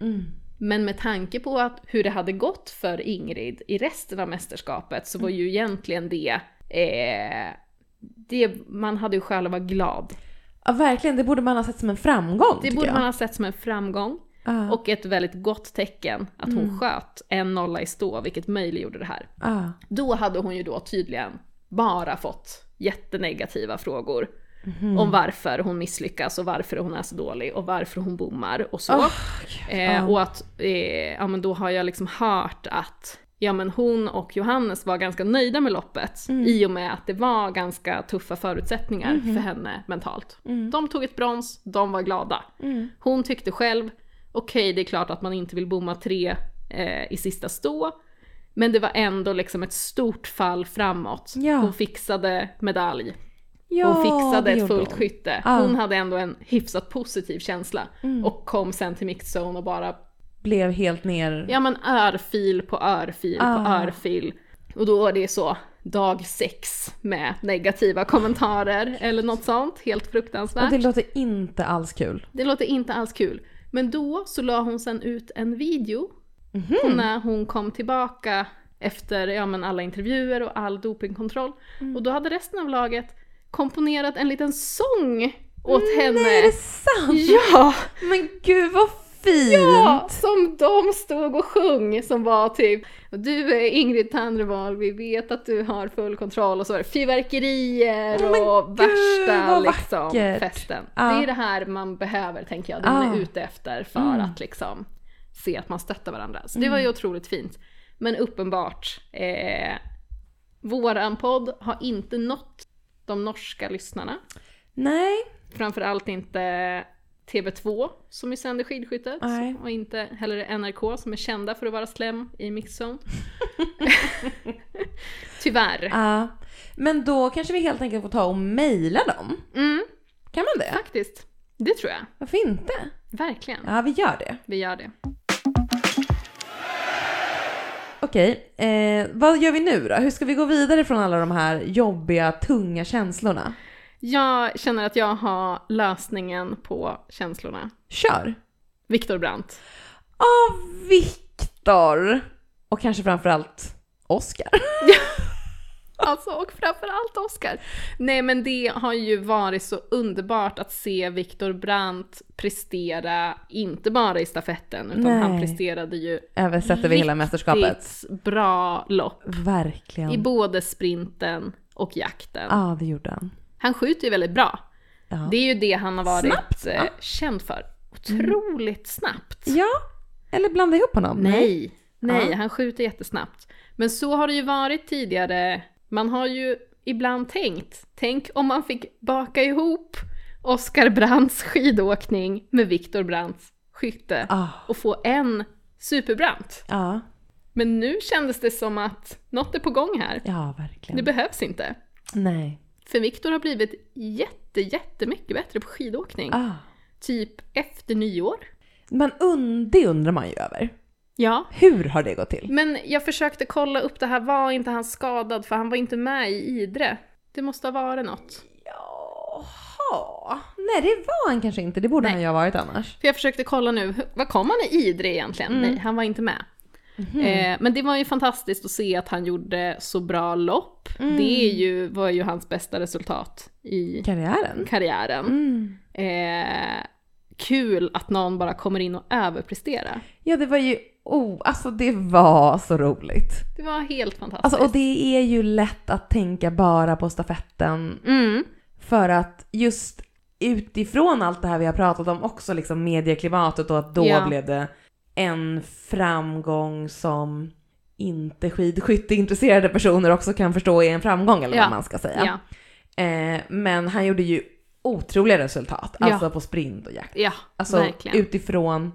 Speaker 2: Mm.
Speaker 1: Men med tanke på att hur det hade gått för Ingrid i resten av mästerskapet så var
Speaker 2: Mm.
Speaker 1: ju egentligen det, eh, det man hade ju skäl att vara glad.
Speaker 2: Ja, verkligen. Det borde man ha sett som en framgång,
Speaker 1: Det
Speaker 2: tycker
Speaker 1: borde
Speaker 2: jag.
Speaker 1: man ha sett som en framgång
Speaker 2: Ah.
Speaker 1: och ett väldigt gott tecken att hon
Speaker 2: Mm.
Speaker 1: sköt en nolla i stå, vilket möjliggjorde det här.
Speaker 2: Ah.
Speaker 1: Då hade hon ju då tydligen bara fått jättenegativa frågor
Speaker 2: Mhm. Mm.
Speaker 1: om varför hon misslyckas och varför hon är så dålig och varför hon bommar och så.
Speaker 2: Åh,
Speaker 1: Eh,
Speaker 2: ja.
Speaker 1: och att, eh, ja men då har jag liksom hört att ja men hon och Johannes var ganska nöjda med loppet
Speaker 2: Mm.
Speaker 1: i och med att det var ganska tuffa förutsättningar för
Speaker 2: Mhm.
Speaker 1: henne mentalt. De tog ett brons, de var glada.
Speaker 2: Mm.
Speaker 1: Hon tyckte själv, okej det är klart att man inte vill bomma tre eh, i sista stå, men det var ändå liksom ett stort fall framåt.
Speaker 2: Ja.
Speaker 1: Hon fixade medalj,
Speaker 2: Ja,
Speaker 1: hon fixade
Speaker 2: det
Speaker 1: ett
Speaker 2: gjorde
Speaker 1: fullt
Speaker 2: hon.
Speaker 1: skytte.
Speaker 2: Ja. Mm.
Speaker 1: Hon hade ändå en hyfsat positiv känsla och kom sen till mixzone och bara,
Speaker 2: Blev helt ner.
Speaker 1: ja men örfil på örfil på
Speaker 2: Ah.
Speaker 1: örfil. Och då är det så, dag sex med negativa kommentarer eller något sånt, helt fruktansvärt.
Speaker 2: Och det låter inte alls kul.
Speaker 1: Det låter inte alls kul. Men då så la hon sen ut en video
Speaker 2: Mhm.
Speaker 1: på när hon kom tillbaka efter ja, men alla intervjuer och all dopingkontroll.
Speaker 2: Mm.
Speaker 1: Och då hade resten av laget komponerat en liten sång åt henne.
Speaker 2: Mm, Nej, är det sant?
Speaker 1: Ja!
Speaker 2: Men gud vad fint!
Speaker 1: Ja, som de stod och sjöng som var typ Du är Ingrid Tandreval, vi vet att du har full kontroll och så var det fyrverkerier
Speaker 2: Åh, men
Speaker 1: och
Speaker 2: gud,
Speaker 1: värsta
Speaker 2: vad
Speaker 1: liksom,
Speaker 2: vackert.
Speaker 1: festen.
Speaker 2: Ja.
Speaker 1: Det är det här man behöver tänker jag, det man är
Speaker 2: Ja. Mm.
Speaker 1: ute efter för att liksom se att man stöttar varandra. Så det var ju otroligt fint. Men uppenbart, eh, våran podd har inte nått de norska lyssnarna.
Speaker 2: Nej,
Speaker 1: Framförallt inte TV2 som ju sänder skidskyttet
Speaker 2: Nej.
Speaker 1: och inte heller NRK som är kända för att vara slem i mixzone. Tyvärr.
Speaker 2: ja. men då kanske vi helt enkelt får ta och mejla dem.
Speaker 1: Mm,
Speaker 2: Kan man det?
Speaker 1: faktiskt. Det tror jag.
Speaker 2: Varför inte?
Speaker 1: Verkligen.
Speaker 2: Ja, vi gör det.
Speaker 1: Vi gör det.
Speaker 2: Okej, eh, vad gör vi nu då? Hur ska vi gå vidare från alla de här jobbiga, tunga känslorna?
Speaker 1: Jag känner att jag har lösningen på känslorna.
Speaker 2: Kör!
Speaker 1: Viktor Brandt.
Speaker 2: Av Viktor! Och kanske framförallt Oscar.
Speaker 1: Alltså, och framförallt Oscar. Nej men det har ju varit så underbart att se Viktor Brandt prestera, inte bara i stafetten, utan
Speaker 2: Nej.
Speaker 1: han presterade ju
Speaker 2: Översätter vi hela mästerskapet.
Speaker 1: riktigt bra lopp
Speaker 2: Verkligen.
Speaker 1: i
Speaker 2: Ja,
Speaker 1: både sprinten och jakten.
Speaker 2: det gjorde han.
Speaker 1: Han skjuter ju väldigt bra.
Speaker 2: Ja.
Speaker 1: Det är ju det han har varit
Speaker 2: Snabbt, Mm.
Speaker 1: eh,
Speaker 2: va?
Speaker 1: känd för. Otroligt snabbt.
Speaker 2: Ja, eller blanda ihop honom.
Speaker 1: Nej, nej,
Speaker 2: Ja.
Speaker 1: han skjuter jättesnabbt. Men så har det ju varit tidigare. Man har ju ibland tänkt, tänk om man fick baka ihop Oskar Brandts skidåkning med Viktor Brandts skytte
Speaker 2: Ah,
Speaker 1: och få en superbrant.
Speaker 2: ja,
Speaker 1: Men nu kändes det som att något är på gång här.
Speaker 2: ja,
Speaker 1: Det
Speaker 2: verkligen.
Speaker 1: behövs inte.
Speaker 2: Nej.
Speaker 1: För Viktor har blivit jätte, jättemycket bättre på skidåkning.
Speaker 2: Ah.
Speaker 1: Typ efter nyår.
Speaker 2: Men und, det undrar man ju över.
Speaker 1: Ja.
Speaker 2: Hur har det gått till?
Speaker 1: Men jag försökte kolla upp det här, var inte han skadad? För han var inte med i Idre. Det måste ha varit något.
Speaker 2: Jaha. Nej, det var han kanske inte. Det borde
Speaker 1: Nej.
Speaker 2: han ju ha varit annars.
Speaker 1: För jag försökte kolla nu, vad kom han i Idre egentligen? Nej, han var inte med. Eh, men det var ju fantastiskt att se att han gjorde så bra lopp. Det är ju, var ju hans bästa resultat i
Speaker 2: Karriären?
Speaker 1: karriären.
Speaker 2: Mm.
Speaker 1: Eh, kul att någon bara kommer in och överpresterar.
Speaker 2: Ja, det var ju... Oh, alltså det var så roligt.
Speaker 1: Det var helt fantastiskt.
Speaker 2: Alltså, och det är ju lätt att tänka bara på stafetten
Speaker 1: mm,
Speaker 2: För att just utifrån allt det här vi har pratat om också, liksom medieklimatet och att då
Speaker 1: Ja.
Speaker 2: blev det en framgång som inte skidskytteintresserade personer också kan förstå är en framgång eller
Speaker 1: Ja.
Speaker 2: vad man ska säga.
Speaker 1: ja.
Speaker 2: Eh, men han gjorde ju otroliga resultat,
Speaker 1: Ja.
Speaker 2: alltså på sprint och jakt.
Speaker 1: Ja,
Speaker 2: Alltså
Speaker 1: verkligen.
Speaker 2: utifrån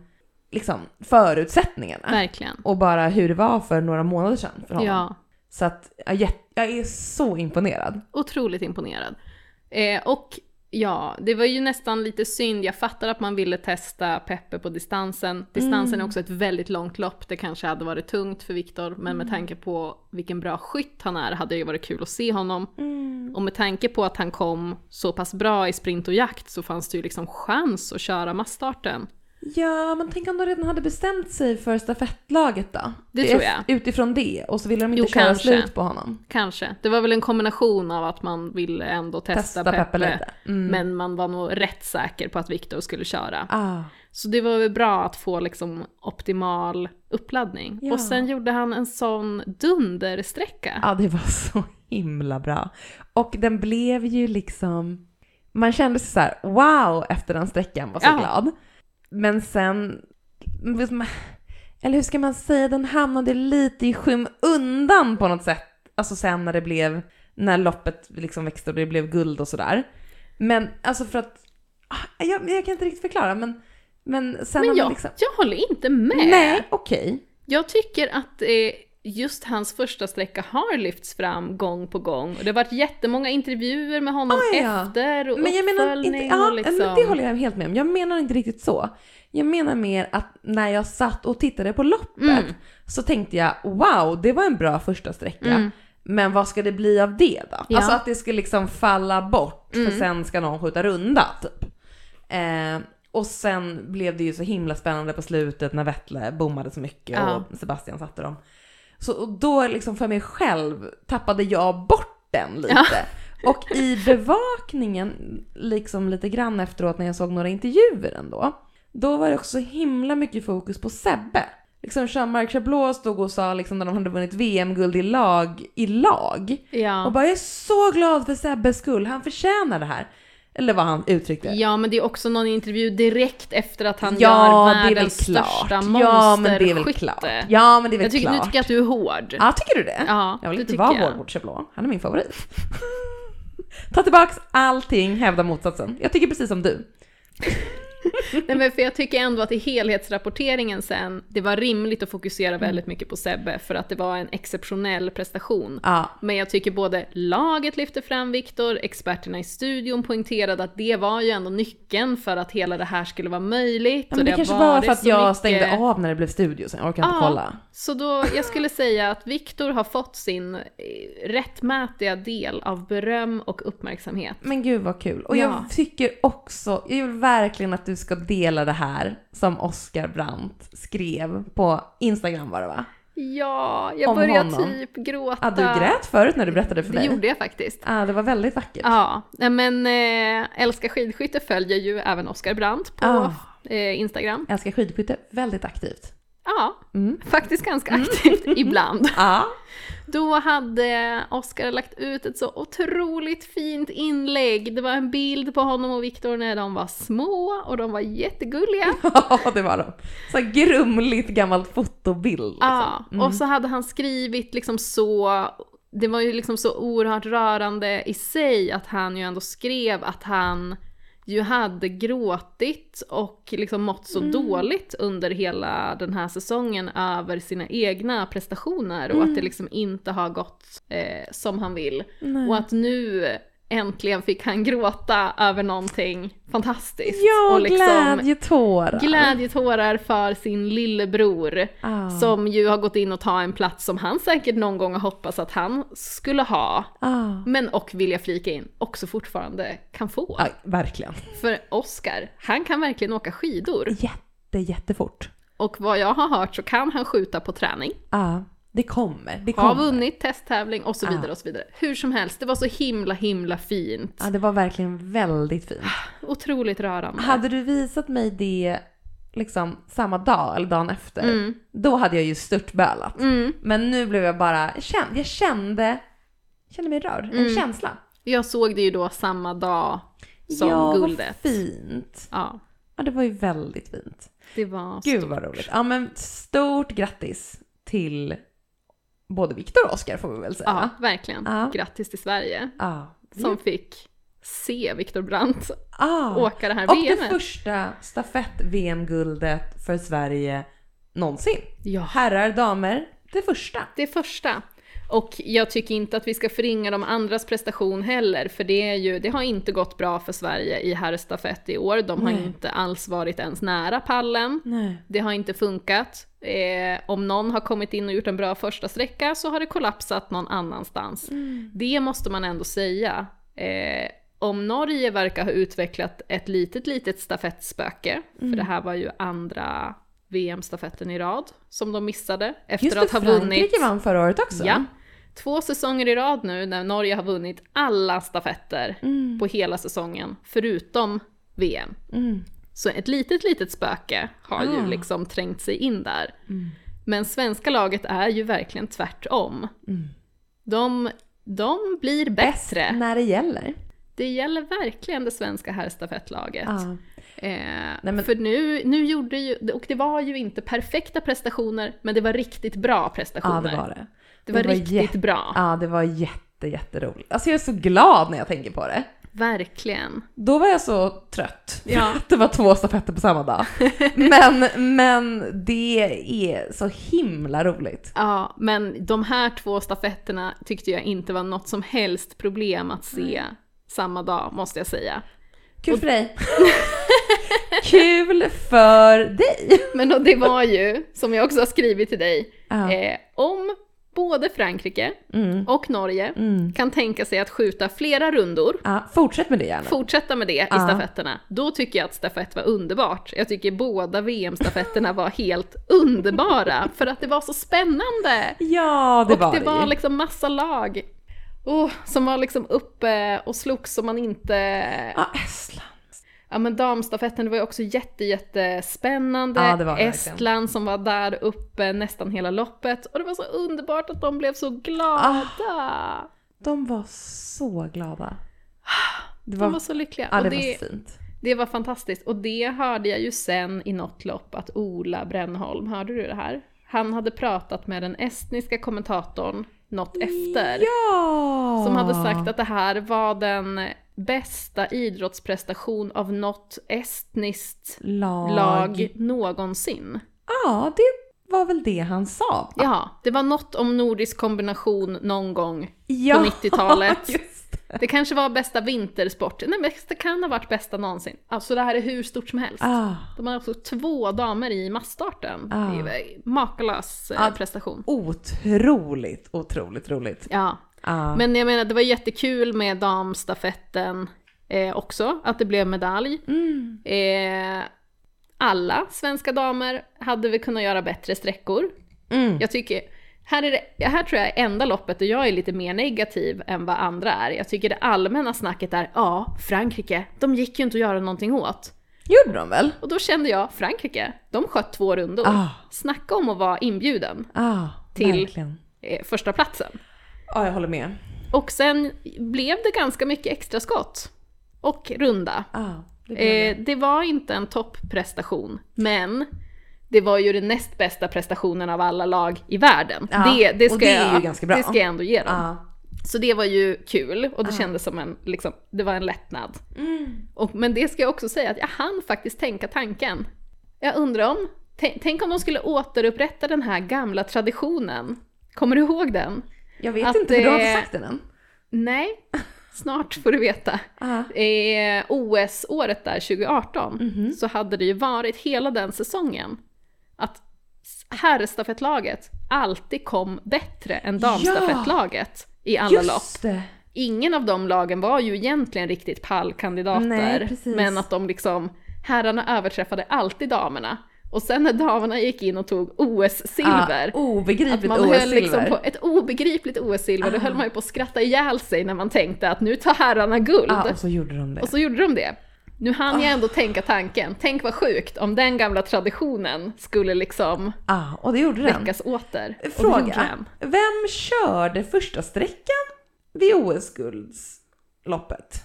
Speaker 2: liksom, förutsättningarna
Speaker 1: verkligen.
Speaker 2: och bara hur det var för några månader sedan för honom.
Speaker 1: Ja,
Speaker 2: Så att jag, är jätte- jag är så imponerad.
Speaker 1: otroligt imponerad. Eh, och ja, det var ju nästan lite synd. Jag fattar att man ville testa Peppe på distansen. Distansen
Speaker 2: Mm.
Speaker 1: är också ett väldigt långt lopp. Det kanske hade varit tungt för Viktor, men
Speaker 2: Mm.
Speaker 1: med tanke på vilken bra skytt han är hade det ju varit kul att se honom. Och med tanke på att han kom så pass bra i sprint och jakt så fanns det ju liksom chans att köra massstarten.
Speaker 2: Ja, men tänk om de redan hade bestämt sig för stafettlaget då?
Speaker 1: Det tror jag.
Speaker 2: Utifrån det, och så ville de inte
Speaker 1: Jo,
Speaker 2: köra
Speaker 1: kanske.
Speaker 2: slut på honom.
Speaker 1: Kanske. Det var väl en kombination av att man ville ändå testa,
Speaker 2: Testa
Speaker 1: Peppe,
Speaker 2: Peppe lite. Mm.
Speaker 1: men man var nog rätt säker på att Viktor skulle köra.
Speaker 2: Ah,
Speaker 1: Så det var väl bra att få liksom optimal uppladdning.
Speaker 2: Ja.
Speaker 1: Och sen gjorde han en sån dundersträcka.
Speaker 2: ja, det var så himla bra. Och den blev ju liksom... Man kände sig så här, wow, efter den sträckan var så
Speaker 1: Ja.
Speaker 2: glad. Men sen... Eller hur ska man säga, den hamnade lite i skymundan på något sätt. Alltså sen när det blev, när loppet liksom växte och det blev guld och sådär. Men alltså för att, ah, jag, jag kan inte riktigt förklara men, men sen när
Speaker 1: Men
Speaker 2: man
Speaker 1: jag,
Speaker 2: liksom...
Speaker 1: jag håller inte med.
Speaker 2: Nej, okej.
Speaker 1: Jag tycker att eh, just hans första sträcka har lyfts fram gång på gång. Och det har varit jättemånga intervjuer med honom
Speaker 2: Ah, ja.
Speaker 1: efter och
Speaker 2: Men jag menar
Speaker 1: uppföljning
Speaker 2: inte, ja,
Speaker 1: och liksom...
Speaker 2: men det håller jag helt med om. Jag menar inte riktigt så. Jag menar mer att när jag satt och tittade på loppet
Speaker 1: Mm.
Speaker 2: så tänkte jag wow, det var en bra första sträcka.
Speaker 1: Mm.
Speaker 2: Men vad ska det bli av det då?
Speaker 1: Ja.
Speaker 2: Alltså att det ska liksom falla bort
Speaker 1: Mm.
Speaker 2: för sen ska någon skjuta runda typ. Eh, och sen blev det ju så himla spännande på slutet när Vettle bommade så mycket
Speaker 1: Ja.
Speaker 2: och Sebastian satte dem. Så och då liksom för mig själv tappade jag bort den lite. Och i bevakningen, liksom lite grann efteråt när jag såg några intervjuer ändå, då var det också så himla mycket fokus på Sebbe. Liksom Jean-Marc Chablot stod och sa liksom när de hade vunnit VM-guld i lag, i lag.
Speaker 1: Ja.
Speaker 2: Och bara jag är så glad för Sebbes skull, han förtjänar det här. Eller vad han uttryckte.
Speaker 1: Ja, men det är också någon intervju direkt efter att han gör
Speaker 2: Ja, det är väl
Speaker 1: världens
Speaker 2: klart.
Speaker 1: största
Speaker 2: Ja, men det är väl
Speaker 1: monsterskytte.
Speaker 2: klart. Ja, men det är väl
Speaker 1: Jag tycker, nu
Speaker 2: klart.
Speaker 1: tycker jag att du är hård.
Speaker 2: Ja, tycker du det?
Speaker 1: Ja,
Speaker 2: jag vill
Speaker 1: det
Speaker 2: inte
Speaker 1: tycker
Speaker 2: vara
Speaker 1: jag.
Speaker 2: hård mot Chablot. Han är min favorit. Ta tillbaks allting, hävda motsatsen. Jag tycker precis som du.
Speaker 1: Nej, men för jag tycker ändå att i helhetsrapporteringen sen, det var rimligt att fokusera väldigt mycket på Sebbe för att det var en exceptionell prestation.
Speaker 2: Mm. Ja,
Speaker 1: Men jag tycker både laget lyfte fram Viktor, experterna i studion poängterade att det var ju ändå nyckeln för att hela det här skulle vara möjligt.
Speaker 2: Ja,
Speaker 1: och
Speaker 2: men det,
Speaker 1: har
Speaker 2: kanske var
Speaker 1: varit
Speaker 2: för att
Speaker 1: så
Speaker 2: jag
Speaker 1: mycket-
Speaker 2: stängde av när det blev studio sen, jag orkar inte
Speaker 1: Ja.
Speaker 2: kolla.
Speaker 1: Så då, jag skulle säga att Viktor har fått sin eh, rättmätiga del av beröm och uppmärksamhet.
Speaker 2: Men gud vad kul. Och
Speaker 1: Ja.
Speaker 2: jag tycker också, jag vill verkligen att du ska dela det här som Oscar Brandt skrev på Instagram var det va?
Speaker 1: Ja, jag
Speaker 2: Om
Speaker 1: börjar
Speaker 2: honom.
Speaker 1: typ gråta.
Speaker 2: Ja, du grät förut när du berättade för
Speaker 1: Det
Speaker 2: mig.
Speaker 1: gjorde jag faktiskt.
Speaker 2: Ja, det var väldigt vackert.
Speaker 1: Ja, nej men eh, Älska skidskytte följer ju även Oskar Brandt på
Speaker 2: Ah.
Speaker 1: eh, Instagram.
Speaker 2: Älskar skidskytte, väldigt aktivt.
Speaker 1: Ja,
Speaker 2: Mm.
Speaker 1: faktiskt ganska aktivt ibland.
Speaker 2: Ja.
Speaker 1: Då hade Oskar lagt ut ett så otroligt fint inlägg. Det var en bild på honom och Viktor när de var små och de var jättegulliga.
Speaker 2: Ja, det var de. Så här grumligt gammalt fotobild. Liksom.
Speaker 1: Ja, och så hade han skrivit liksom så, det var ju liksom så oerhört rörande i sig att han ju ändå skrev att han ju hade gråtit och liksom mått
Speaker 2: Mm.
Speaker 1: så dåligt under hela den här säsongen över sina egna prestationer och att
Speaker 2: Mm.
Speaker 1: det liksom inte har gått eh, som han vill.
Speaker 2: Nej.
Speaker 1: Och att nu äntligen fick han gråta över någonting fantastiskt.
Speaker 2: ja,
Speaker 1: och liksom
Speaker 2: glädjetårar.
Speaker 1: glädjetårar för sin lillebror.
Speaker 2: Ah.
Speaker 1: Som ju har gått in och tagit en plats som han säkert någon gång har hoppats att han skulle ha.
Speaker 2: Ah.
Speaker 1: Men och vill jag flika in, också fortfarande kan få.
Speaker 2: Ja, verkligen.
Speaker 1: För Oscar, han kan verkligen åka skidor.
Speaker 2: Jätte, jättefort.
Speaker 1: Och vad jag har hört så kan han skjuta på träning.
Speaker 2: Ja, det kommer. Det
Speaker 1: Har
Speaker 2: kommer.
Speaker 1: vunnit testtävling och så
Speaker 2: Ja.
Speaker 1: vidare och så vidare. Hur som helst, det var så himla himla fint.
Speaker 2: Ja, det var verkligen väldigt fint.
Speaker 1: Otroligt rörande.
Speaker 2: Hade du visat mig det liksom samma dag eller dagen efter,
Speaker 1: Mm.
Speaker 2: då hade jag ju störtbölat.
Speaker 1: Mm.
Speaker 2: Men nu blev jag bara, jag kände, jag kände, jag kände mig rörd. En
Speaker 1: Mm.
Speaker 2: känsla.
Speaker 1: Jag såg det ju då samma dag som
Speaker 2: ja,
Speaker 1: guldet.
Speaker 2: vad fint.
Speaker 1: Ja,
Speaker 2: Ja, det var ju väldigt fint.
Speaker 1: det var
Speaker 2: Gud vad roligt. Ja, men stort grattis till både Viktor och Oscar får vi väl säga.
Speaker 1: Ja, verkligen.
Speaker 2: Ja.
Speaker 1: Grattis till Sverige
Speaker 2: Ja.
Speaker 1: som fick se Viktor Brandt
Speaker 2: Ja.
Speaker 1: åka det här
Speaker 2: Ah. Och det
Speaker 1: VMet.
Speaker 2: första stafett-VM-guldet för Sverige någonsin.
Speaker 1: Ja,
Speaker 2: Herrar, damer, det första.
Speaker 1: det första. Och jag tycker inte att vi ska förringa de andras prestation heller, för det, är ju, det har inte gått bra för Sverige i herrstafett i år. De har
Speaker 2: Nej.
Speaker 1: inte alls varit ens nära pallen.
Speaker 2: Nej.
Speaker 1: Det har inte funkat. Eh, om någon har kommit in och gjort en bra första sträcka så har det kollapsat någon annanstans.
Speaker 2: Mm.
Speaker 1: Det måste man ändå säga. Eh, om Norge verkar ha utvecklat ett litet, litet stafettspöke,
Speaker 2: Mm.
Speaker 1: för det här var ju andra VM-stafetten i rad som de missade efter
Speaker 2: Just det,
Speaker 1: att ha vunnit.
Speaker 2: Frankrike vann förra året också.
Speaker 1: Ja, två säsonger i rad nu när Norge har vunnit alla stafetter
Speaker 2: Mm.
Speaker 1: på hela säsongen, förutom VM.
Speaker 2: Mm.
Speaker 1: Så ett litet, litet spöke har
Speaker 2: Ah.
Speaker 1: ju liksom trängt sig in där.
Speaker 2: Mm.
Speaker 1: Men svenska laget är ju verkligen tvärtom.
Speaker 2: Mm.
Speaker 1: De, de blir bättre.
Speaker 2: När det gäller.
Speaker 1: Det gäller verkligen det svenska herrstafettlaget.
Speaker 2: Ja.
Speaker 1: Eh,
Speaker 2: Ah. men-
Speaker 1: För nu, nu gjorde ju, och det var ju inte perfekta prestationer, men det var riktigt bra prestationer.
Speaker 2: ja, det var det.
Speaker 1: Det var riktigt
Speaker 2: jätte- Ah.
Speaker 1: bra.
Speaker 2: Ja, det var jätte, jätteroligt. Alltså jag är så glad när jag tänker på det.
Speaker 1: Verkligen.
Speaker 2: Då var jag så trött.
Speaker 1: Ja.
Speaker 2: Att det var två stafetter på samma dag. Men, men det är så himla roligt.
Speaker 1: Ja, men de här två stafetterna tyckte jag inte var något som helst problem att se samma dag, måste jag säga.
Speaker 2: Kul för dig. Kul för dig.
Speaker 1: Men då, det var ju, som jag också har skrivit till dig,
Speaker 2: Ja.
Speaker 1: eh, om både Frankrike
Speaker 2: Mm.
Speaker 1: och Norge
Speaker 2: Mm.
Speaker 1: kan tänka sig att skjuta flera rundor,
Speaker 2: Ja, fortsätt med det gärna.
Speaker 1: fortsätta med det i
Speaker 2: Ja.
Speaker 1: stafetterna, då tycker jag att stafett var underbart. Jag tycker båda VM-stafetterna var helt underbara, för att det var så spännande!
Speaker 2: ja, det
Speaker 1: och
Speaker 2: var
Speaker 1: det
Speaker 2: ju.
Speaker 1: var liksom massa lag oh, som var liksom uppe och slogs som man inte...
Speaker 2: Ja, Estland.
Speaker 1: Ja men damstafetten det var ju också jätte, jättespännande.
Speaker 2: Ja, det var det verkligen.
Speaker 1: Estland som var där uppe nästan hela loppet. Och det var så underbart att de blev så glada.
Speaker 2: Ah, De var så glada. Det var,
Speaker 1: De var så lyckliga.
Speaker 2: ja,
Speaker 1: och
Speaker 2: det
Speaker 1: det,
Speaker 2: var så fint.
Speaker 1: det var fantastiskt. Och det hörde jag ju sen i något lopp att Ola Brännholm, hörde du det här? Han hade pratat med den estniska kommentatorn något efter.
Speaker 2: Ja!
Speaker 1: Som hade sagt att det här var den bästa idrottsprestation av något estniskt
Speaker 2: lag.
Speaker 1: lag någonsin.
Speaker 2: Ja, det var väl det han sa. va?
Speaker 1: Ja, det var något om nordisk kombination någon gång.
Speaker 2: Ja,
Speaker 1: 90-talet.
Speaker 2: just det.
Speaker 1: Det kanske var bästa vintersport. Nej, men det kan ha varit bästa någonsin. Alltså det här är hur stort som helst.
Speaker 2: Ah,
Speaker 1: De har också två damer i massstarten.
Speaker 2: Ah.
Speaker 1: Det är ju makalös eh,
Speaker 2: Ah.
Speaker 1: prestation.
Speaker 2: otroligt, otroligt roligt.
Speaker 1: Ja,
Speaker 2: Ah.
Speaker 1: men jag menar det var jättekul med damstafetten eh, också, att det blev medalj.
Speaker 2: Mm.
Speaker 1: Eh, alla svenska damer hade vi kunnat göra bättre sträckor.
Speaker 2: Mm.
Speaker 1: Jag tycker, här, är det, här tror jag är enda loppet där jag är lite mer negativ än vad andra är. Jag tycker det allmänna snacket är, ja, Frankrike, de gick ju inte att göra någonting åt.
Speaker 2: Gjorde de väl?
Speaker 1: Och då kände jag, Frankrike, de sköt två rundor.
Speaker 2: Ah.
Speaker 1: Snacka om att vara inbjuden,
Speaker 2: Ah,
Speaker 1: Till-
Speaker 2: verkligen.
Speaker 1: eh, första platsen.
Speaker 2: Ja, jag håller med.
Speaker 1: Och sen blev det ganska mycket extra skott och runda.
Speaker 2: Ah, det blev det.
Speaker 1: Eh, det var inte en topprestation, men det var ju den näst bästa prestationen av alla lag i världen.
Speaker 2: Ja,
Speaker 1: Det, det, ska
Speaker 2: och det är
Speaker 1: jag,
Speaker 2: ju ganska bra.
Speaker 1: det ska jag ändå ge dem.
Speaker 2: Ah.
Speaker 1: Så det var ju kul och det
Speaker 2: Ah.
Speaker 1: kändes som en, liksom, det var en lättnad.
Speaker 2: Mm.
Speaker 1: Och, men det ska jag också säga att jag hann faktiskt tänka tanken. Jag undrar om, tänk, tänk om de skulle återupprätta den här gamla traditionen. Kommer du ihåg den?
Speaker 2: Jag vet
Speaker 1: Att
Speaker 2: inte, för du har
Speaker 1: det-
Speaker 2: inte sagt den än.
Speaker 1: Nej, snart får du veta.
Speaker 2: Ah.
Speaker 1: Eh, OS-året där 2018
Speaker 2: Mhm.
Speaker 1: så hade det ju varit hela den säsongen att herrstafettlaget alltid kom bättre än damstafettlaget i alla lopp.
Speaker 2: Just det!
Speaker 1: Ingen av de lagen var ju egentligen riktigt pallkandidater,
Speaker 2: Nej, precis.
Speaker 1: men att de liksom, herrarna överträffade alltid damerna. Och sen när damerna gick in och tog OS-silver,
Speaker 2: Ah,
Speaker 1: att
Speaker 2: obegripligt
Speaker 1: man höll liksom
Speaker 2: OS-silver.
Speaker 1: på ett obegripligt OS-silver, då
Speaker 2: Ah.
Speaker 1: höll man ju på att skratta ihjäl sig när man tänkte att nu tar herrarna guld.
Speaker 2: Ah, och så gjorde de det.
Speaker 1: Och så gjorde de det. Nu hann jag
Speaker 2: Ah.
Speaker 1: ändå tänka tanken, tänk vad sjukt om den gamla traditionen skulle liksom
Speaker 2: ah, och det gjorde den.
Speaker 1: väckas åter. Och det gjorde
Speaker 2: Fråga.
Speaker 1: den.
Speaker 2: Vem körde första sträckan vid OS-guldsloppet?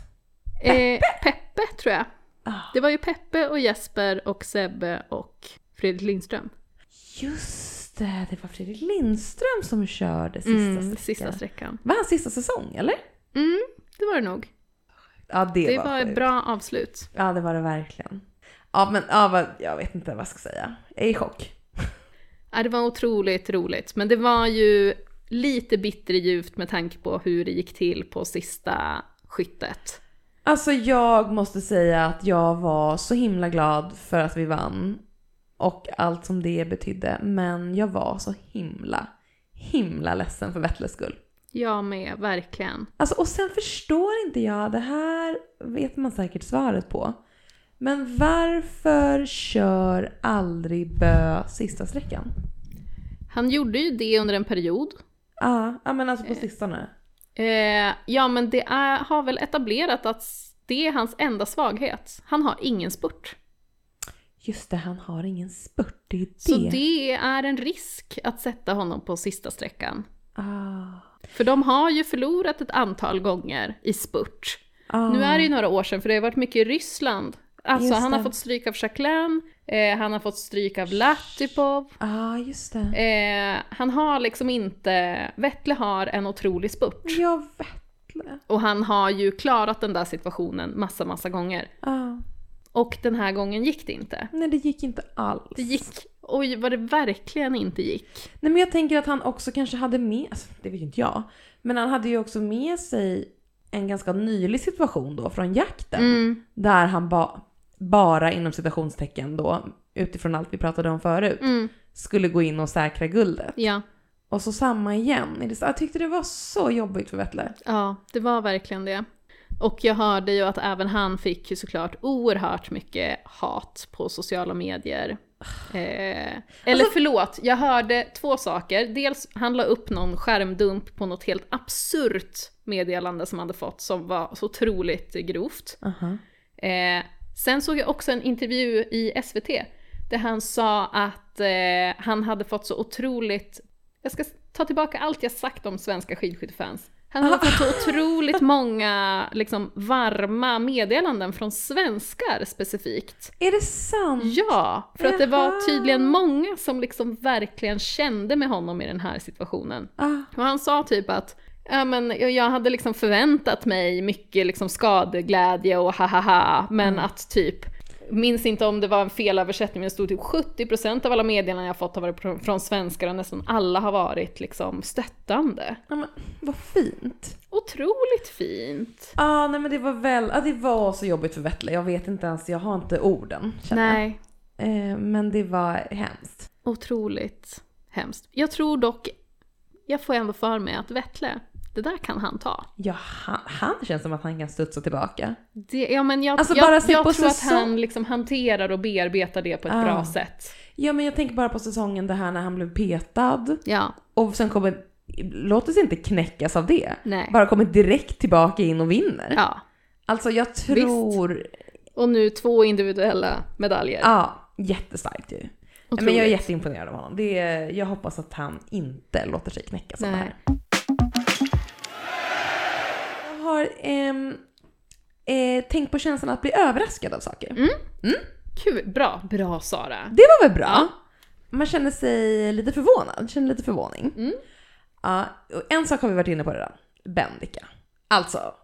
Speaker 1: Eh, Peppe tror jag.
Speaker 2: Ah.
Speaker 1: Det var ju Peppe och Jesper och Sebbe och Fredrik Lindström.
Speaker 2: Just det, det var Fredrik Lindström som körde sista
Speaker 1: Mm,
Speaker 2: sträckan.
Speaker 1: sista sträckan.
Speaker 2: Var hans sista säsong eller?
Speaker 1: Mm, det var det nog.
Speaker 2: Ja det,
Speaker 1: Det var
Speaker 2: sjukt.
Speaker 1: ett bra avslut.
Speaker 2: Ja det var det verkligen. Ja men ja, vad, jag vet inte vad jag ska säga. Jag är i chock.
Speaker 1: Ja, det var otroligt roligt, men det var ju lite bitterljuvt med tanke på hur det gick till på sista skyttet.
Speaker 2: Alltså jag måste säga att jag var så himla glad för att vi vann. Och allt som det betydde. Men jag var så himla, himla ledsen för Vettles skull.
Speaker 1: Jag med, verkligen.
Speaker 2: Alltså, och sen förstår inte jag, det här vet man säkert svaret på. Men varför kör aldrig Bö sista sträckan?
Speaker 1: Han gjorde ju det under en period.
Speaker 2: Ja, ah, men alltså på sistone.
Speaker 1: Eh, ja, men det är, har väl etablerat att det är hans enda svaghet. Han har ingen spurt.
Speaker 2: Just det, han har ingen spurt. Det är det.
Speaker 1: Så det är en risk att sätta honom på sista sträckan.
Speaker 2: Ah.
Speaker 1: För de har ju förlorat ett antal gånger i spurt.
Speaker 2: Ah.
Speaker 1: Nu är det ju några år sedan, för det har varit mycket i Ryssland. Alltså
Speaker 2: Just
Speaker 1: han
Speaker 2: det.
Speaker 1: har fått stryk av Chaclain, eh, han har fått stryk av Latipov.
Speaker 2: ah, just det.
Speaker 1: Eh, han har liksom inte... Vettle har en otrolig spurt.
Speaker 2: Ja, Vettle.
Speaker 1: Och han har ju klarat den där situationen massa, massa gånger.
Speaker 2: Ah.
Speaker 1: Och den här gången gick det inte.
Speaker 2: Nej, det gick inte alls.
Speaker 1: Det gick... Oj, vad det verkligen inte gick.
Speaker 2: Nej, men jag tänker att han också kanske hade med, alltså, det vet ju inte jag, men han hade ju också med sig en ganska nylig situation då från jakten.
Speaker 1: Mm,
Speaker 2: Där han ba, bara inom citationstecken då, utifrån allt vi pratade om förut,
Speaker 1: mm,
Speaker 2: skulle gå in och säkra guldet.
Speaker 1: ja.
Speaker 2: Och så samma igen. Är det så- Jag tyckte det var så jobbigt för Vettler.
Speaker 1: Ja, det var verkligen det. Och jag hörde ju att även han fick ju såklart oerhört mycket hat på sociala medier. Eh, eller förlåt, jag hörde två saker. Dels han la upp någon skärmdump på något helt absurt meddelande som han hade fått som var så otroligt grovt. Eh, sen såg jag också en intervju i SVT där han sa att eh, han hade fått så otroligt, jag ska ta tillbaka allt jag sagt om svenska skidskyttefans. Han hade fått så otroligt många liksom, varma meddelanden från svenskar specifikt.
Speaker 2: Är det sant?
Speaker 1: Ja, för att det var
Speaker 2: Jaha.
Speaker 1: tydligen många som liksom verkligen kände med honom i den här situationen.
Speaker 2: Ah,
Speaker 1: Och han sa typ att ja, men jag- jag hade liksom förväntat mig mycket liksom skadeglädje och hahaha, men
Speaker 2: Mm.
Speaker 1: att typ Minns inte om det var en felöversättning, men det stod typ 70% av alla meddelanden jag fått har varit pr- från svenskar och nästan alla har varit liksom stöttande.
Speaker 2: ja, men, vad fint.
Speaker 1: Otroligt fint!
Speaker 2: Ah, nej men det var väl, ah, det var så jobbigt för Vettler. Jag vet inte ens, jag har inte orden känner
Speaker 1: Nej,
Speaker 2: jag. Eh, men det var hemskt.
Speaker 1: otroligt hemskt. Jag tror dock, jag får ändå för mig att Vettle, det där kan han ta.
Speaker 2: Ja, han, han känns som att han kan studsa tillbaka.
Speaker 1: Det, ja, men jag,
Speaker 2: Alltså,
Speaker 1: jag,
Speaker 2: bara
Speaker 1: jag,
Speaker 2: se på
Speaker 1: tror att
Speaker 2: säsong-
Speaker 1: han liksom hanterar och bearbetar det på ett
Speaker 2: Ah.
Speaker 1: bra sätt.
Speaker 2: Ja men jag tänker bara på säsongen det här när han blev petad.
Speaker 1: Ja,
Speaker 2: Och sen kommer, låter sig inte knäckas av det.
Speaker 1: nej.
Speaker 2: Bara kommer direkt tillbaka in och vinner.
Speaker 1: Ja.
Speaker 2: Alltså jag tror,
Speaker 1: Och nu två individuella medaljer.
Speaker 2: ja jättestarkt ju.
Speaker 1: Otroligt.
Speaker 2: Men jag är jätteimponerad av honom. Det är, jag hoppas att han inte låter sig knäckas av det
Speaker 1: Nej.
Speaker 2: här. Jag har ehm, eh, tänkt på känslan att bli överraskad av saker.
Speaker 1: Kul, bra, bra Sara.
Speaker 2: Det var väl bra? Man känner sig lite förvånad, känner lite förvåning.
Speaker 1: Mm.
Speaker 2: Ja, och en sak har vi varit inne på redan. Bendika. Alltså,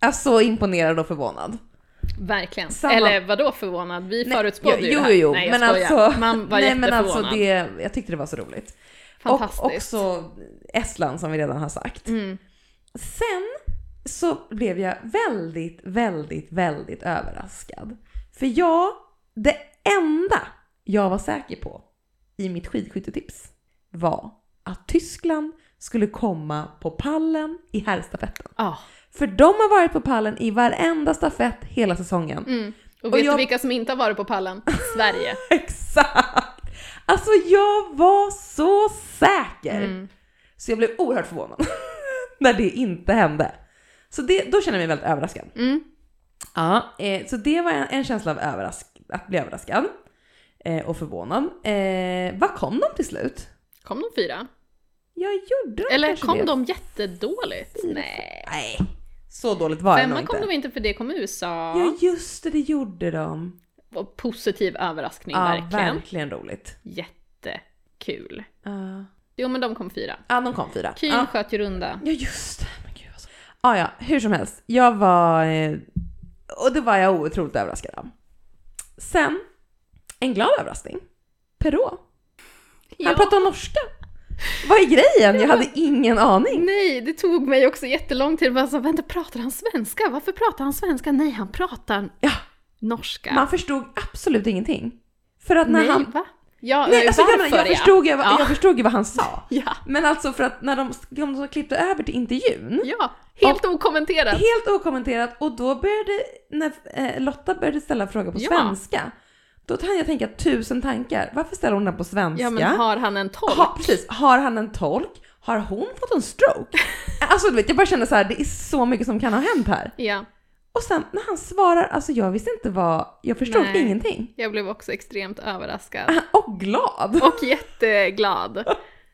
Speaker 2: jag är så imponerad och förvånad.
Speaker 1: Verkligen.
Speaker 2: Samma-
Speaker 1: Eller vadå förvånad? Vi
Speaker 2: Nej,
Speaker 1: förutspådde ju
Speaker 2: jo,
Speaker 1: det här.
Speaker 2: jo, jo,
Speaker 1: Nej, jag
Speaker 2: men
Speaker 1: skojar.
Speaker 2: alltså,
Speaker 1: Man var
Speaker 2: nej, men alltså
Speaker 1: jätteförvånad.
Speaker 2: det, jag tyckte det var så roligt.
Speaker 1: Fantastiskt.
Speaker 2: Och också Estland som vi redan har sagt.
Speaker 1: Mm.
Speaker 2: Sen så blev jag väldigt, väldigt, väldigt överraskad. För jag, det enda jag var säker på i mitt skidskyttetips var att Tyskland skulle komma på pallen i herrstafetten.
Speaker 1: Ja.
Speaker 2: För de har varit på pallen i varenda stafett hela säsongen.
Speaker 1: Mm. Och,
Speaker 2: Och
Speaker 1: vet
Speaker 2: jag-
Speaker 1: du vilka som inte har varit på pallen? Sverige.
Speaker 2: Exakt! Alltså jag var så säker!
Speaker 1: Mm.
Speaker 2: Så jag blev oerhört förvånad när det inte hände. Så det, då känner jag mig väldigt överraskad.
Speaker 1: Mm.
Speaker 2: Ja, eh, så det var en, en känsla av överrask att bli överraskad eh, och förvånad. Eh, vad kom de till slut?
Speaker 1: Kom de fyra?
Speaker 2: Jag gjorde de
Speaker 1: Eller
Speaker 2: kanske
Speaker 1: kom
Speaker 2: det.
Speaker 1: de jättedåligt? Nej.
Speaker 2: Nej, så dåligt var det nog
Speaker 1: Femma
Speaker 2: inte.
Speaker 1: kom de inte för det kom USA.
Speaker 2: Ja just det, det gjorde de.
Speaker 1: Var Positiv överraskning
Speaker 2: Ja, verkligen,
Speaker 1: verkligen.
Speaker 2: roligt.
Speaker 1: Jättekul.
Speaker 2: Ja,
Speaker 1: Jo men de kom fyra.
Speaker 2: Ja, de kom fyra.
Speaker 1: Kühn
Speaker 2: Ja.
Speaker 1: sköt ju runda.
Speaker 2: Ja just det. Men gud alltså. ah, ja, hur som helst. Jag var... eh, Och det var jag otroligt överraskad av. Sen, en glad överraskning. Perå. Han
Speaker 1: Ja.
Speaker 2: pratar norska. Vad är grejen? Jag hade ingen aning.
Speaker 1: Nej, det tog mig också jättelång tid. Jag bara så, vänta, pratar han svenska? Varför pratar han svenska? Nej, han pratar
Speaker 2: Ja.
Speaker 1: norska.
Speaker 2: Man förstod absolut ingenting. För att när
Speaker 1: Nej,
Speaker 2: han...
Speaker 1: va? Ja, eh,
Speaker 2: Nej, alltså, jag, menar,
Speaker 1: varför
Speaker 2: jag,
Speaker 1: ja.
Speaker 2: förstod ju, vad-
Speaker 1: Ja.
Speaker 2: jag förstod ju vad han sa.
Speaker 1: Ja,
Speaker 2: Men alltså för att när de, om de klippte över till intervjun,
Speaker 1: ja. Helt okommenterat.
Speaker 2: helt okommenterat, och då började, när eh, Lotta började ställa frågor på
Speaker 1: Ja.
Speaker 2: svenska, då hann jag tänka tusen tankar. Varför ställer hon den på svenska?
Speaker 1: Ja, men har han en tolk?
Speaker 2: Ha, precis. Har han en tolk? Har hon fått en stroke? alltså du vet, jag bara känner så här, det är så mycket som kan ha hänt här.
Speaker 1: Ja,
Speaker 2: Och sen när han svarar, alltså jag visste inte vad, jag förstod
Speaker 1: Nej.
Speaker 2: ingenting.
Speaker 1: jag blev också extremt överraskad.
Speaker 2: Och glad!
Speaker 1: Och jätteglad.